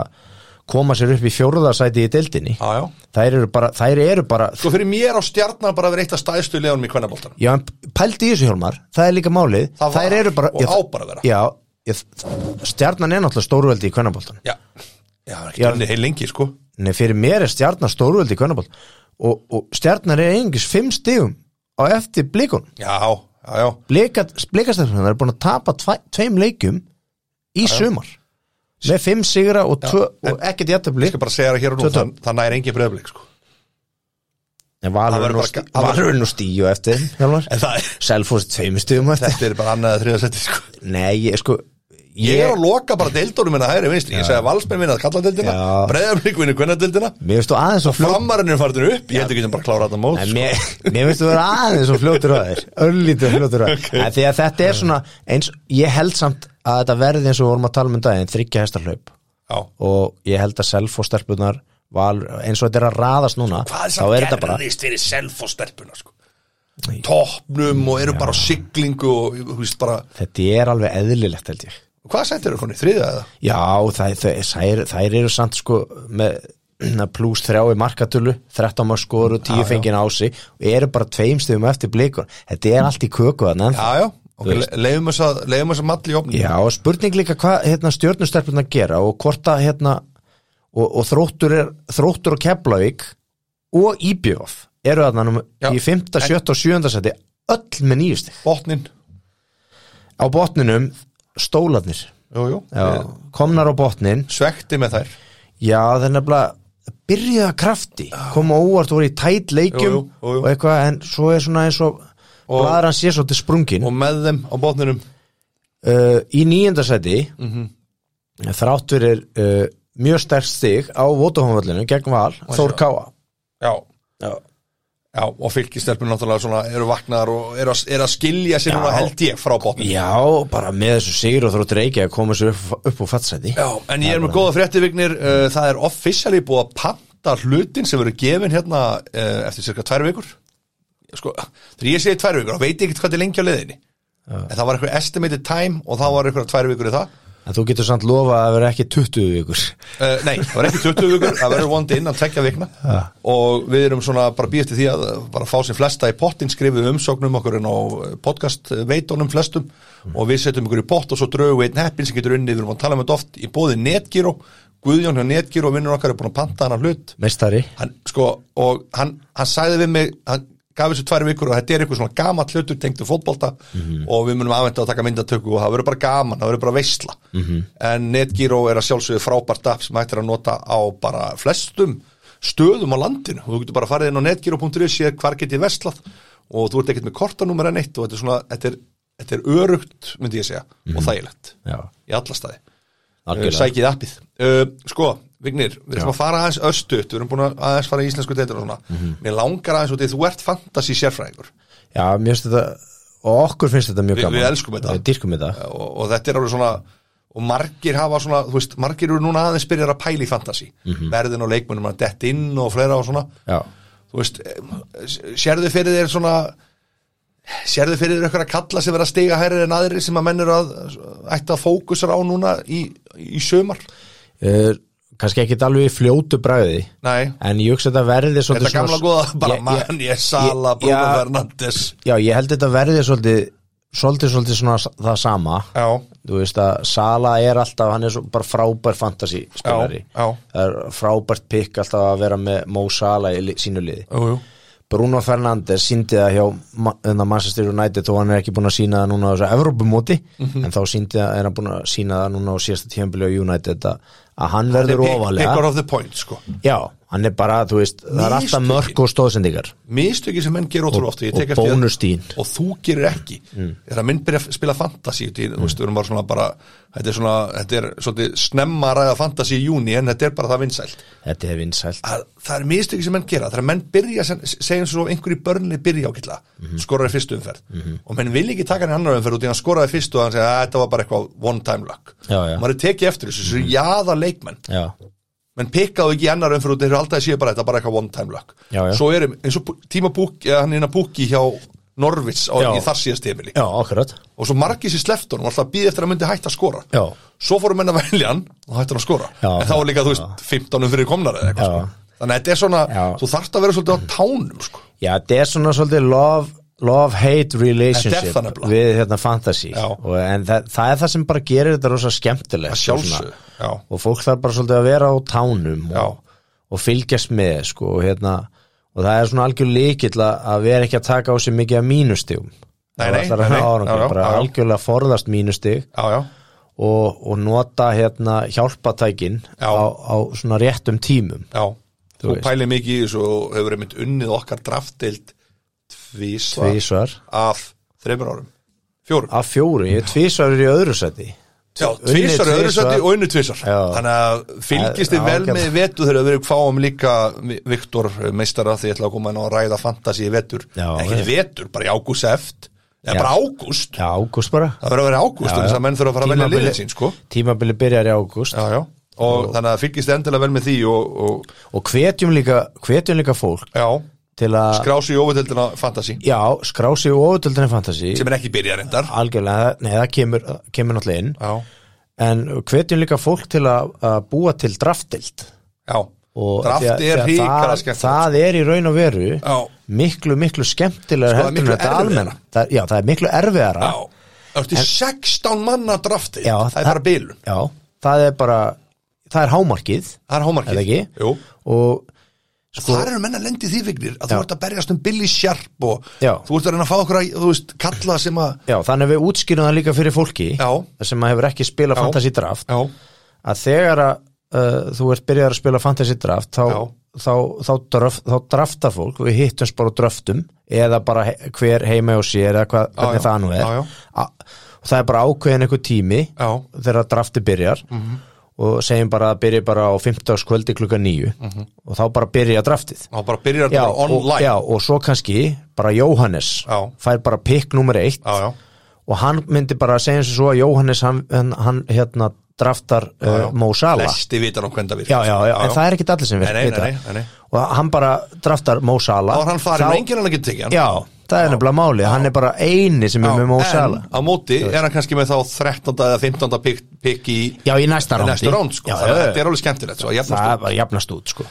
Speaker 2: koma sér upp í fjórðasæti í deildinni
Speaker 1: Já, já.
Speaker 2: þær eru bara, þær eru bara
Speaker 1: Sko fyrir mér á stjarnar bara að vera eitt af stæðstu leðunum í kvennaboltanum.
Speaker 2: já, en pældi í þessu hjálmar, það er líka málið
Speaker 1: Það var
Speaker 2: þær eru bara
Speaker 1: og
Speaker 2: já,
Speaker 1: á bara að vera.
Speaker 2: já, ég, stjarnan er náttúrulega stórveldi í kvennaboltan
Speaker 1: Já, já, það er
Speaker 2: Já.
Speaker 1: ekki unni heil lengi sko.
Speaker 2: Nei, fyrir mér er stjarnan stórveldi í kvennabolt og, og stjarnan er einingis 5 stigum á eftir blíkun
Speaker 1: Já, já, já.
Speaker 2: Blekastarfjörðan er búin að tapa tvæ, tveim leikum í sumar með fimm sigra og, tvö, og ekkert jættabli
Speaker 1: Ég skal bara segja það hér og nú,
Speaker 2: Tvö
Speaker 1: það, það næri engin breyðblik sko.
Speaker 2: en
Speaker 1: Það verður
Speaker 2: Valur er nú
Speaker 1: bara-
Speaker 2: stí-
Speaker 1: það verður-
Speaker 2: Valur er nú stíu eftir Hjálmar.
Speaker 1: En það er,
Speaker 2: Selfoss tveim stíum eftir
Speaker 1: þetta er bara annað að þriða seti sko.
Speaker 2: Nei, ég sko
Speaker 1: Ég er
Speaker 2: ég,
Speaker 1: að loka bara deildunum minna hægri vinstri. Ég segja valsmenn vinna að kalla deildina,
Speaker 2: Já.
Speaker 1: breyðablik vinna kvennadeildina,
Speaker 2: Mér finnst þú aðeins og fljótt
Speaker 1: framarinn er farin upp, ég held ekki sem bara klára þetta mót.
Speaker 2: Nei,
Speaker 1: sko.
Speaker 2: Mér, mér finnst þú vera aðeins og fljótur að þér Örlítið fljótur að þér okay. Því að þetta er svona eins, Ég held samt að þetta verði eins og við vorum að tala um um daginn Þryggja hestarhlaup
Speaker 1: Já.
Speaker 2: Og ég held að Selfoss stelpunar Valur, eins og þetta er að raðast núna
Speaker 1: Hvað
Speaker 2: þá er
Speaker 1: sem
Speaker 2: þetta bara
Speaker 1: gerðist fyrir self og stelpuna sko. Topnum og eru bara á siglingu og, þú veist, bara,
Speaker 2: Þetta er alveg eðlilegt held ég
Speaker 1: hvað sendir eru konni, þriða eða?
Speaker 2: Já, þær, þær, þær, þær eru samt sko með pluss þrjá í markatölu 13 maður skoru, 10 fengin á sig og eru bara tveim stöðum eftir blikur Þetta er allt í köku þarna ennþá.
Speaker 1: Já, já, ok, leiðum þess að leiðum þess að malli í opnum
Speaker 2: Já, og spurning líka hvað hérna, stjörnustelpurnar gera og hvort að hérna, og, og þróttur, er, þróttur og Keflavík og Íbjöf eru þarna númer-
Speaker 1: Já.
Speaker 2: í 5., 7. og 7. seti öll með nýjusti
Speaker 1: botnin,
Speaker 2: á botninum stólarnir
Speaker 1: jú, jú,
Speaker 2: já. komnar á botnin
Speaker 1: svekti með þær
Speaker 2: Já, það er nefnilega byrjaði að krafti, koma óvart voru í tætt leikjum
Speaker 1: Jú, jú, jú, jú.
Speaker 2: og eitthvað, en svo er svona eins og, og blæðar hann sé svolítið sprungin
Speaker 1: og með þeim á botninum
Speaker 2: uh, í nýjendasæti mm
Speaker 1: Mhm.
Speaker 2: -hmm. þrátt fyrir uh, mjög sterk stig á Votahónvöllinu gegn Val, Þór Káa
Speaker 1: já,
Speaker 2: Já,
Speaker 1: já og fylgistelpun náttúrulega svona eru vaknaðar og eru að, er að skilja sér núna held ég frá botnin
Speaker 2: bara með þessu sigur og þróttur eiki að koma sér upp, upp úr fattsæti
Speaker 1: já, en ég er með góða fréttivignir uh, það er officially búið að panta hlutin sem verður gefin hérna uh, eftir cirka tvær vikur sko, þegar ég segi tvær vikur, þá veit ég ekkert hvað þetta er lengi á leiðinni en það var eitthvað estimated time og það var eitthvað tvær vikur í það
Speaker 2: En þú getur samt lofað að vera ekki 20 vikur
Speaker 1: Uh, nei, það var ekki 20 vikur, það verður vondi innan tvekja vikna og við erum svona bara býðast til því að uh, bara fá sem flesta í pottin skrifum umsóknum okkur en á uh, podcast uh, veitunum flestum og við setjum ykkur í pott og svo draugum við einn heppin sem getur unni, við erum að tala um þetta oft í bóði Netgyro, Guðjón hjá Netgyro vinnur okkar er búin að panta hann hlut
Speaker 2: Meistari
Speaker 1: hann, sko, og hann, hann sagði við mig hann, gaf þessu tvær vikur og þetta er eitthvað svona gamall hlutur tengdu fótbolta og við munum aðvenda að taka myndatöku og það verður bara gaman, það verður bara veisla en NetGyro er að sjálfsögðu frábært app sem hægt er að nota á bara flestum stöðum á landinu og þú getur bara farið inn á netgyro.is séð hvar get ég veslað og þú ert ekkert með kortanúmer en eitt og þetta er svona, þetta er, þetta er örugt myndi ég segja og þægilegt
Speaker 2: Já,
Speaker 1: í alla staði uh,
Speaker 2: algjörlega
Speaker 1: sækið appið uh, sko, Vignir, við erum að fara aðeins östuðt, við erum búin að aðeins fara í íslensku deitur og svona, mér langar aðeins út í þú ert fantasy sérfræðingur
Speaker 2: Já, mér finnst þetta, og okkur finnst þetta mjög
Speaker 1: Við-
Speaker 2: gaman
Speaker 1: við elskum þetta.
Speaker 2: Við dýrkum þetta
Speaker 1: og, og þetta er alveg svona og margir hafa svona, þú veist, margir eru núna aðeins byrjar að pæla í fantasy verðin og leikmunum að dett inn og fleira og svona
Speaker 2: Já,
Speaker 1: þú veist, eh, sérðu fyrir þér svona sérðu fyrir þér ykkur að kalla sem vera að stiga hærri en aðrir sem að menn eru að ætti að fókusra á núna í, í sömar
Speaker 2: uh, kannski ekki alveg í fljótu bræði
Speaker 1: Nei,
Speaker 2: En ég hugsa að þetta verði
Speaker 1: er
Speaker 2: svolítið
Speaker 1: þetta gamla góða bara
Speaker 2: Ég- ég-
Speaker 1: mann, ég sala,
Speaker 2: ég-
Speaker 1: Bruno
Speaker 2: já.
Speaker 1: Fernandes
Speaker 2: Já, ég held þetta verði svolítið Svolítið, svolítið svona s- það sama
Speaker 1: Já,
Speaker 2: Þú veist að Sala er alltaf, hann er svo, bara frábær fantasy spilari
Speaker 1: Já, já.
Speaker 2: Það er frábært pikk alltaf að vera með Mo Sala í li- sínu liði
Speaker 1: jú, jú
Speaker 2: Bruno Fernandes síndi það hjá Ma- hérna, Manchester United og hann er ekki búin að sína það núna á þessu Evrópumóti
Speaker 1: Mhm.
Speaker 2: en þá síndi það, er hann búin að sína það núna á síðasta tíðanbili á United að, að hann verður
Speaker 1: Picker
Speaker 2: ofalega
Speaker 1: of the point, sko
Speaker 2: Já, hann er bara, þú veist, það er alltaf
Speaker 1: Mistökin.
Speaker 2: mörg og stóðsendingar
Speaker 1: Mistöki sem menn gerir ótrúlega oft ég
Speaker 2: og Mm.
Speaker 1: tek eftir því að-
Speaker 2: bónustín.
Speaker 1: Og þú gerir ekki Þegar menn byrja að spila fantasy Þú mm. veist, við erum bara svona bara Þetta er svona, þetta er svolítið snemma að ræða fantasy í júni En þetta er bara það vinsælt
Speaker 2: Þetta er vinsælt
Speaker 1: að það er mistöki sem menn gera þegar menn byrja, sem, segjum svo einhverju börnli byrja ákilla, mm
Speaker 2: Mhm.
Speaker 1: -hmm. skoraði fyrstu umferð og menn vil ekki taka hann í annar umferð út í hann skoraði fyrstu og hann segja að þetta var bara eitthvað one time luck
Speaker 2: Já, já. Mhm.
Speaker 1: og maður er tekið eftir þessu, þessu jaða leikmenn
Speaker 2: Já,
Speaker 1: menn pikkaðu ekki í annar umferð út þeir eru alltaf að séu bara þetta er bara eitthvað one time luck
Speaker 2: Já, já.
Speaker 1: svo erum, eins og Bú- tíma búk, eða hann er inn að búki hjá Norvits á
Speaker 2: Já.
Speaker 1: í þar síðast tímili
Speaker 2: já, akkurat
Speaker 1: og svo margir sér sleftunum alltaf að býða eftir að hann myndi hætta að skora
Speaker 2: Já,
Speaker 1: svo fórum menn að velja hann og hættu hann að skora
Speaker 2: Já,
Speaker 1: en þá var líka, þú veist, 15 fyrir komnar eða eitthvað
Speaker 2: Já.
Speaker 1: sko. þannig að þetta er svona,
Speaker 2: Já.
Speaker 1: þú þarft að vera svolítið á tánum sko.
Speaker 2: já þetta er svona svolítið love Love-hate
Speaker 1: Þetta er það
Speaker 2: relationship
Speaker 1: nefnilega.
Speaker 2: við hérna fantasy
Speaker 1: Já.
Speaker 2: og, en það, það er það sem bara gerir þetta rosa
Speaker 1: að
Speaker 2: skemmtilegt og svona-
Speaker 1: sjálfsög já,
Speaker 2: og fólk þarf bara svolítið að vera á tánum
Speaker 1: Já.
Speaker 2: og, og fylgjast með sko, og, hérna, og það er svona algjör líkill að vera ekki að taka á sig mikið af mínustigum
Speaker 1: Nei,
Speaker 2: Það
Speaker 1: nei,
Speaker 2: ætlar að
Speaker 1: nei,
Speaker 2: ná
Speaker 1: nei.
Speaker 2: árangri,
Speaker 1: Já, já,
Speaker 2: bara
Speaker 1: já, já.
Speaker 2: algjörlega forðast mínustig
Speaker 1: já, já,
Speaker 2: og, og nota hérna, hjálpatækin
Speaker 1: Já.
Speaker 2: á, á svona réttum tímum
Speaker 1: já
Speaker 2: Þú
Speaker 1: þú
Speaker 2: veist.
Speaker 1: pælir mikið í þessu og hefur einmitt unnið okkar draftdeild tvísvar
Speaker 2: tvísvar,
Speaker 1: af þreymur árum fjórum,
Speaker 2: af fjóru, ég er tvísvar er í öðru seti
Speaker 1: já,
Speaker 2: unnið
Speaker 1: tvísvar í öðru
Speaker 2: tvisvar.
Speaker 1: sætti og unnið tvísvar
Speaker 2: Já.
Speaker 1: þannig að fylgist þið
Speaker 2: Það er
Speaker 1: vel með
Speaker 2: ágætt.
Speaker 1: í vetur þegar við erum fáum líka Viktor meistara því ég ætla að koma inn og ræða fantasi í vetur,
Speaker 2: Já,
Speaker 1: ekki
Speaker 2: já.
Speaker 1: í vetur, bara í ágúst eft eða
Speaker 2: Já.
Speaker 1: bara ágúst
Speaker 2: já, ágúst bara
Speaker 1: Það verður að vera ágúst
Speaker 2: Já,
Speaker 1: og þess
Speaker 2: já.
Speaker 1: að menn þurfa að fara að velja
Speaker 2: Tímabili-
Speaker 1: liðin sín sko.
Speaker 2: tímabili byrjar í ágúst
Speaker 1: Já, já. Og, þannig að fylgist þið endilega vel með því og, og
Speaker 2: og hvetjum líka, hvetjum líka fólk
Speaker 1: já,
Speaker 2: til að
Speaker 1: skrási í óviteldina fantasy
Speaker 2: já, skrá sig og óvöldildinni fantasy
Speaker 1: sem er ekki byrjað reyndar
Speaker 2: algjörlega, nei það kemur, kemur náttúrulega inn
Speaker 1: Já,
Speaker 2: en hvetjum líka fólk til að, að búa til draftild
Speaker 1: já.
Speaker 2: og
Speaker 1: Draft
Speaker 2: því að-
Speaker 1: er
Speaker 2: því að
Speaker 1: híkara
Speaker 2: það,
Speaker 1: skemmt
Speaker 2: það er í raun og veru
Speaker 1: Já.
Speaker 2: miklu miklu
Speaker 1: Sko,
Speaker 2: skemmtilega
Speaker 1: það er miklu
Speaker 2: þetta
Speaker 1: erfiðara.
Speaker 2: almenna það, já, það er miklu erfiðara
Speaker 1: Já, ertu 16 manna drafti
Speaker 2: Já,
Speaker 1: það er bara bilun,
Speaker 2: já, það er bara það er hámarkið
Speaker 1: það er
Speaker 2: Eða
Speaker 1: hámarkið
Speaker 2: ekki?
Speaker 1: Jú,
Speaker 2: og
Speaker 1: sko, þar eru menn að lendi því vignir að
Speaker 2: Já.
Speaker 1: þú ert að berjast um Billy Sharp og
Speaker 2: Já.
Speaker 1: þú ert að reyna að fá okkur að, þú veist, kalla sem að
Speaker 2: já, þannig að við útskýrum það líka fyrir fólki
Speaker 1: Já.
Speaker 2: sem að hefur ekki spilað fantasy draft
Speaker 1: Já,
Speaker 2: að þegar að uh, þú ert byrjar að spila fantasy draft þá,
Speaker 1: Já.
Speaker 2: þá, þá, draf, þá drafta fólk við hittumst bara og dröftum eða bara he hver heima og sér eða hvað, hvernig
Speaker 1: já.
Speaker 2: það nú er
Speaker 1: Já, já.
Speaker 2: A- og það er bara ákveðin einhver tími
Speaker 1: já, Mhm.
Speaker 2: þegar drafti byrjar og segjum bara að byrja bara á 15. kvöldi klukka 9
Speaker 1: Mhm.
Speaker 2: og þá bara byrja draftið
Speaker 1: þá bara byrjar
Speaker 2: já,
Speaker 1: þetta bara
Speaker 2: og,
Speaker 1: online
Speaker 2: já, og svo kannski bara Jóhannes
Speaker 1: Já.
Speaker 2: fær bara pikk nummer eitt
Speaker 1: já, já.
Speaker 2: og hann myndi bara að segja eins og svo að Jóhannes hann, hann, hann hérna draftar uh, Mo Salah
Speaker 1: Flesti vitar á hvernig það virkar
Speaker 2: já, já, já, en það er ekkit allir sem
Speaker 1: Nei,
Speaker 2: við
Speaker 1: nei, nei,
Speaker 2: vita
Speaker 1: nei, nei, nei.
Speaker 2: og hann bara draftar Mo Salah
Speaker 1: Þá er hann farin og enginn hann getur tekið hann
Speaker 2: já, það er nefnilega málið, hann er bara eini sem er með Mo
Speaker 1: En
Speaker 2: Salah
Speaker 1: á móti er hann kannski með þá 13. eða 15. pikk pik í
Speaker 2: já, í næsta rándi
Speaker 1: næstu ránd sko.
Speaker 2: já,
Speaker 1: Þannig að
Speaker 2: já,
Speaker 1: þetta er alveg skemmtilegt svo,
Speaker 2: það
Speaker 1: uh,
Speaker 2: er bara jafnast út sko.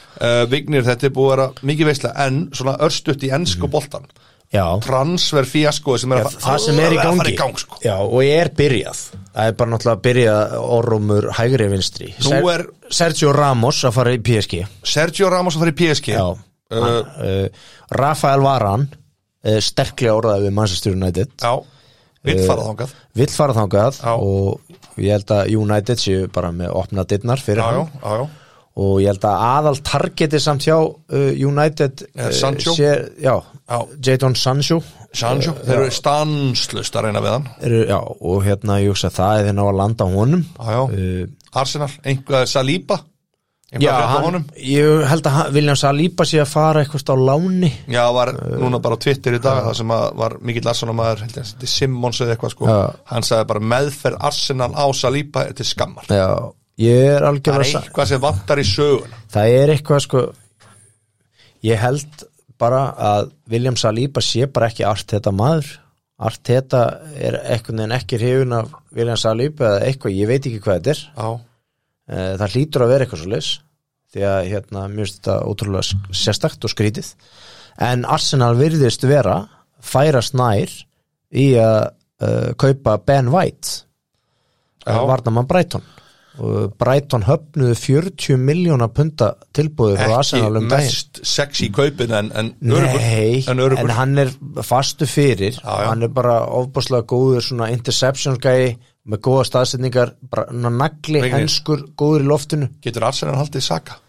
Speaker 1: Vignir, þetta er búið að vera mikið veisla En svona örstutt í ennsku boltan
Speaker 2: já,
Speaker 1: Transfer fíaskoði sem er að,
Speaker 2: Mm. það sem er í
Speaker 1: alveg að fara
Speaker 2: gangi
Speaker 1: í gang sko.
Speaker 2: já, og ég er byrjað það er bara náttúrulega að byrja orrumur hægri vinstri
Speaker 1: Nú er-
Speaker 2: Sergio Ramos að fara í PSG
Speaker 1: Uh. Sergio Ramos að fara í PSG
Speaker 2: já,
Speaker 1: uh,
Speaker 2: uh, Rafael Varan eh, sterklega orðað við Manchester United
Speaker 1: Já, vill fara þangað
Speaker 2: vill fara þangað
Speaker 1: Já.
Speaker 2: og ég held að United séu bara með opna dittnar fyrir
Speaker 1: Já, já,
Speaker 2: hann
Speaker 1: já, já
Speaker 2: og ég held að aðal targeti samt hjá uh, United
Speaker 1: Er Sancho?
Speaker 2: sé, já,
Speaker 1: Já.
Speaker 2: Jadon Sancho
Speaker 1: Sancho, þeir eru stanslust að reyna við hann
Speaker 2: eru, já, og hérna ég hugsa að það er þeir ná að landa honum
Speaker 1: Já, já,
Speaker 2: uh,
Speaker 1: Arsenal, einhvað Saliba
Speaker 2: já,
Speaker 1: Einhvað frétta af
Speaker 2: hann,
Speaker 1: honum
Speaker 2: ég held að hann, William Saliba sé að fara eitthvað á láni
Speaker 1: Já, var
Speaker 2: Eh,
Speaker 1: núna bara á Twitter í dag Það sem að var mikill Arsenal maður held ég, þetta er Simmons eða eitthvað sko
Speaker 2: Já.
Speaker 1: Hann sagði bara meðferð Arsenal á Saliba er til skammar
Speaker 2: já, ég er
Speaker 1: Það
Speaker 2: algjörlega
Speaker 1: er
Speaker 2: sa-
Speaker 1: eitthvað sem vantar í söguna
Speaker 2: það er eitthvað sko ég held bara að William Saliba sé bara ekki Arteta maður Arteta er eitthvað en ekki hrifun af William Saliba eða eitthvað, ég veit ekki hvað þetta er
Speaker 1: Já,
Speaker 2: Eh, það hlýtur að vera eitthvað svo leis því að hérna, mér finnst þetta ótrúlega s- sérstakt og skrítið en Arsenal virðist vera færast nær í að uh, kaupa Ben White
Speaker 1: Já.
Speaker 2: varnamann Brighton og Brighton höfnuðu 40 miljóna punta tilbúðu frá
Speaker 1: ekki
Speaker 2: Arsenal um daginn
Speaker 1: mest sexy kaupin en, en
Speaker 2: Nei,
Speaker 1: örugur en örugur
Speaker 2: hann er fastu fyrir
Speaker 1: Já, já.
Speaker 2: hann er bara ofbáslega góður svona interception gæi með góða staðsetningar, bara svona nagli
Speaker 1: Mikið.
Speaker 2: henskur, góður í loftinu
Speaker 1: getur Arsenal haldið saka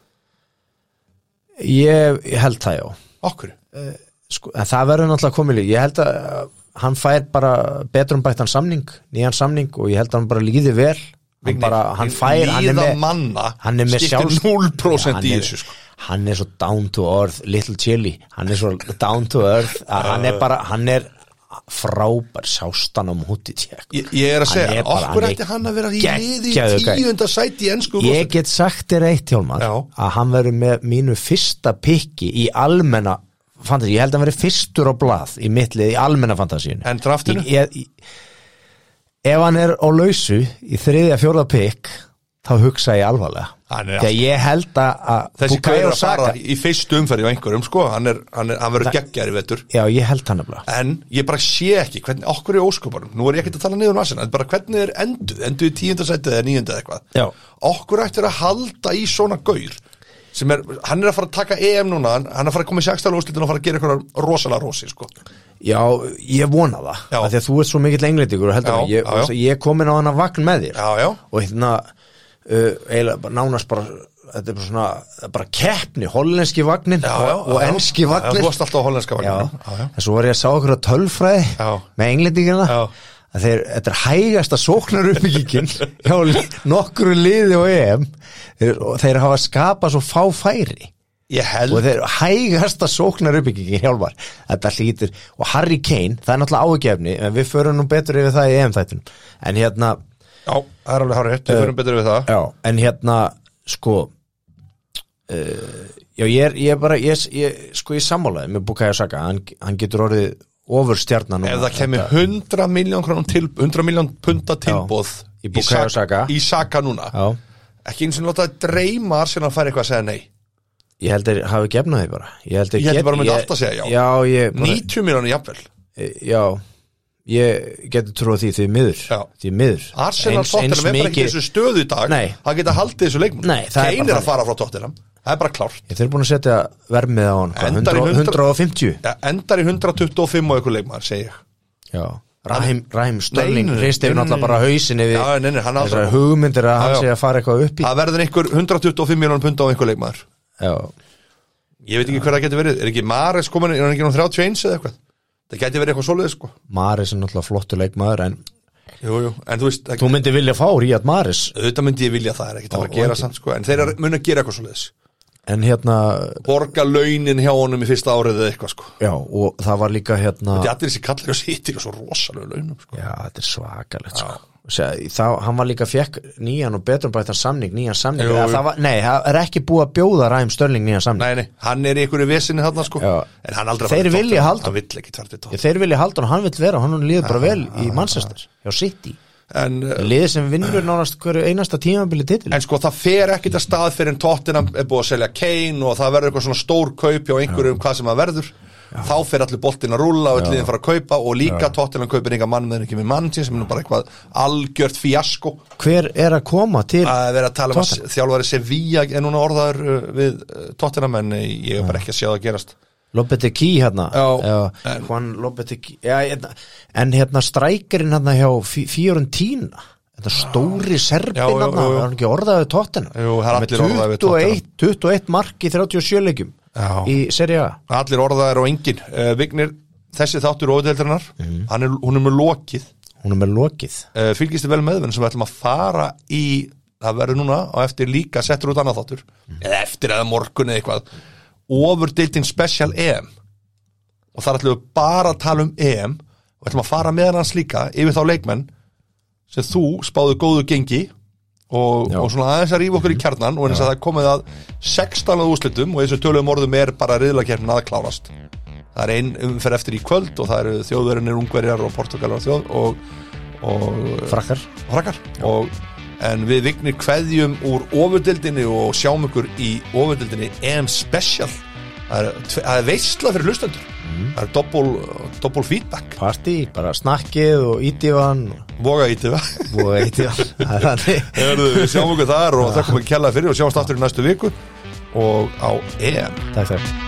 Speaker 2: Ég, ég held það já
Speaker 1: okkur,
Speaker 2: sko, en það verður náttúrulega komið líf ég held að uh, hann fær bara betrum bættan samning, nýjan samning og ég held að hann bara líði vel hann, bara, hann fær, hann er
Speaker 1: líða
Speaker 2: með
Speaker 1: manna
Speaker 2: hann er með
Speaker 1: skiptir
Speaker 2: sjálfs-
Speaker 1: 0%
Speaker 2: Já,
Speaker 1: í
Speaker 2: hann er-
Speaker 1: þessu sko.
Speaker 2: hann er svo down to earth, little chili hann er svo down to earth að hann er bara, hann er frábær sástan á múti tjekk
Speaker 1: ég, ég er að
Speaker 2: Hann
Speaker 1: segja,
Speaker 2: er bara-
Speaker 1: okkur
Speaker 2: hann er
Speaker 1: ætti hann að vera í liði
Speaker 2: geggjaður gæi.
Speaker 1: tíunda sæti í ennsku
Speaker 2: ég get sagt þér eitt Hjálmar
Speaker 1: Já.
Speaker 2: að hann verður með mínu fyrsta pikki í almenna fantasi, ég held að hann verður fyrstur á blað í mittlið í almenna fantasíun
Speaker 1: En draftinu?
Speaker 2: ef hann er á lausu í þriðja fjóra pikk þá hugsa ég alvarlega
Speaker 1: Hann er
Speaker 2: þegar ég held að- að
Speaker 1: þessi
Speaker 2: Bukayo
Speaker 1: kaupir að
Speaker 2: Saka-
Speaker 1: fara í fyrstu umferði á einhverjum sko, hann, er, hann, er, hann verður geggjær í vettur
Speaker 2: já ég held hann nefnilega
Speaker 1: en ég bara sé ekki hvernig okkur í óskopanum, nú er ég ekkert að tala niður um Arsenal, en bara hvernig er enduð, enduð í tíundasætið eða níundið eitthvað
Speaker 2: Já.
Speaker 1: okkur ættir að halda í svona gaur sem er, hann er að fara að taka EM núna hann hann er að fara að koma í sextala úrslitin og fara að gera eitthvað rosalega rosi, sko
Speaker 2: Já, ég vona það
Speaker 1: Já.
Speaker 2: af því að þú ert svo mikill englendingur og heldur
Speaker 1: Já,
Speaker 2: mig, ég,
Speaker 1: já, já.
Speaker 2: ég er komin á hann að vagn með þér
Speaker 1: Já, já.
Speaker 2: og hérna uh, eiginlega bara nánast bara þetta er bara svona, það er bara keppni hollenski vagnin
Speaker 1: Já, já,
Speaker 2: og, og
Speaker 1: já.
Speaker 2: enski
Speaker 1: Já,
Speaker 2: vagnin
Speaker 1: þú varst alltaf á hollenska
Speaker 2: já,
Speaker 1: vagninum. Já, já.
Speaker 2: en svo var ég að sá okkur að tölfræði
Speaker 1: Já.
Speaker 2: með englendingina
Speaker 1: Já.
Speaker 2: að þeir, þetta er hægasta sóknar uppbyggingin hjá li- nokkru liði og EM þeir, og þeir hafa skapað svo fá færi
Speaker 1: ég held,
Speaker 2: og þeir hægasta sóknar uppbyggingin hjálpar þetta hlýtur og Harry Kane, það er náttúrulega áhugjefni en við förum nú betur yfir það í EM þættunum en hérna,
Speaker 1: já, það er alveg hárið við förum betur við það,
Speaker 2: já, en hérna sko uh, já, ég er, ég er bara ég, ég, sko ég sammálaði með Bukayo Saka hann, hann getur orðið ofur stjarnan
Speaker 1: ef það kemur 100 miljón krónum til, 100 miljón punta tilbóð
Speaker 2: Í Bukayo Saka.
Speaker 1: í Saka núna
Speaker 2: já,
Speaker 1: ekki eins og láta að dreyma Arsenal að fara eitthvað að segja nei
Speaker 2: ég held að hafi gefnað því bara ég held að
Speaker 1: Ég held bara að myndi alltaf segja já.
Speaker 2: já, ég, bara, eh,
Speaker 1: 90 miljónu jafnvel
Speaker 2: já ég getur trúið því því miður
Speaker 1: Já.
Speaker 2: því miður
Speaker 1: Arsenal
Speaker 2: Eins-
Speaker 1: Tottenham
Speaker 2: eins
Speaker 1: er bara ekki
Speaker 2: mikið-
Speaker 1: þessu stöðu í dag
Speaker 2: Nei.
Speaker 1: það geta haldið þessu leikmúl
Speaker 2: Nei, það
Speaker 1: Kane
Speaker 2: er
Speaker 1: er
Speaker 2: bara
Speaker 1: að
Speaker 2: þannig.
Speaker 1: fara frá Tottenham það er bara klárt
Speaker 2: Ég þeir eru búin að setja vermið á hann hvað,
Speaker 1: Endar í
Speaker 2: 100, 150
Speaker 1: ja, endar í 125 og ykkur leikmar segi ég
Speaker 2: já. Rahim, Rahim Störling
Speaker 1: Nei, nei,
Speaker 2: hristi
Speaker 1: nei,
Speaker 2: yfir náttúrulega
Speaker 1: nei.
Speaker 2: bara hausin yfir
Speaker 1: Já, nei, nei, hann á
Speaker 2: þessar
Speaker 1: það.
Speaker 2: hugmyndir að
Speaker 1: Já,
Speaker 2: hann
Speaker 1: já.
Speaker 2: sé að fara eitthvað upp í
Speaker 1: það verður einhver 125 miljónum punda á ykkur leikmar
Speaker 2: já.
Speaker 1: ég veit ekki hver það getur verið er ekki Mares komin er hann ekki nú 31 eða eitthvað það getur verið eitthvað svoleiðis sko
Speaker 2: Maris er náttúrulega flottur leikmaður en
Speaker 1: jú, jú. en þú veist það-
Speaker 2: þú myndi vilja fá Ríad Maris
Speaker 1: auðvitað myndi ég vilja það er ekki það
Speaker 2: Ó,
Speaker 1: að gera
Speaker 2: ekki.
Speaker 1: samt sko en þeir eru- munu að gera eitthvað svoleiðis
Speaker 2: en hérna
Speaker 1: borga launin hjá honum í fyrsta árið eða eitthvað sko
Speaker 2: já og það var líka hérna
Speaker 1: Þetta er allir þessi kallar og sýtir og svo rosalega launum sko.
Speaker 2: já þetta er svakalegt sko Sér, þá, hann var líka fekk nýjan og betrum bættan samning, nýjan samning
Speaker 1: Jú,
Speaker 2: Eða
Speaker 1: jú.
Speaker 2: það var, nei, það er ekki búið að bjóða Rahim Störling nýjan samning
Speaker 1: Nei, nei, hann er í einhverju vesinni þarna sko
Speaker 2: Já.
Speaker 1: En hann aldrei
Speaker 2: Þeir
Speaker 1: farið í
Speaker 2: vilja
Speaker 1: Tottenham.
Speaker 2: halda-
Speaker 1: Hann vill ekki tvart við tótt
Speaker 2: þeir vilja halda hann, hann vill vera, hann líður bara vel
Speaker 1: Ah.
Speaker 2: í Manchester, hjá City
Speaker 1: en, uh,
Speaker 2: liðið sem vinnur nánast hverju einasta tímabili titil
Speaker 1: en sko það fer ekkit að stað fyrir en Tottenham er búið að selja Kane og það verður eitthvað svona stór kaup hjá einhverjum hvað sem það verður Þá fer allir boltinn að rúlla og allir fara að kaupa og líka Tottenham kaupir enga mann með ekki með mann sín sem er nú bara eitthvað algjört fíasko
Speaker 2: hver er að koma til
Speaker 1: að vera að tala um eh, að þjálfari Sevilla en núna orðaður uh, við uh, Tottenham en uh, ég er bara ekki að sjá það gerast
Speaker 2: Lopeteki hérna
Speaker 1: Já,
Speaker 2: já, Juan Lopeteki já, hérna. en hérna strækirinn hérna hjá Fiorentína þetta stóri serbin
Speaker 1: Já, já,
Speaker 2: hérna,
Speaker 1: já, já.
Speaker 2: var hann ekki orðaði tóttina
Speaker 1: Jú, það er allir orðaður við
Speaker 2: 21, 21 mark í 37 leikum
Speaker 1: Já.
Speaker 2: í Serie A
Speaker 1: allir orðaðar og engin uh, Vignir, þessi þáttur ódeildarinnar mm. er, hún er með lokið
Speaker 2: hún er með lokið
Speaker 1: uh, fylgistu vel með þeim sem við ætlum að fara í það verður núna og eftir líka settur út annað þáttur eða eftir eða morgun eða eitthvað ofurdeildin special EM og þar ætlum við bara að tala um EM og ætlum að fara með hans líka yfir þá leikmenn sem þú spáðu góðu gengi og,
Speaker 2: Já.
Speaker 1: og svona aðeins að rífa okkur í kjarnan og eins að það er komið að sextalað úrslitum og þessu tölum orðum er bara riðlakernin að klárast það er ein umferð eftir í kvöld og það eru þjóðverinir, ungverjar og portugalar og þjóð og, og
Speaker 2: frakkar
Speaker 1: frakkar og en við vignir kveðjum úr ofurdildinni og sjáum ykkur í ofurdildinni EM Special það er, tve- það er veistla fyrir hlustendur það er doppul, doppul feedback
Speaker 2: party, bara snakkið og ítívan
Speaker 1: voga í þetta
Speaker 2: og ítívan það er þannig
Speaker 1: Herðu, við sjáum ykkur þar og þakkum ekki kjalla fyrir og sjáumst aftur í næstu viku og á EM
Speaker 2: takk, takk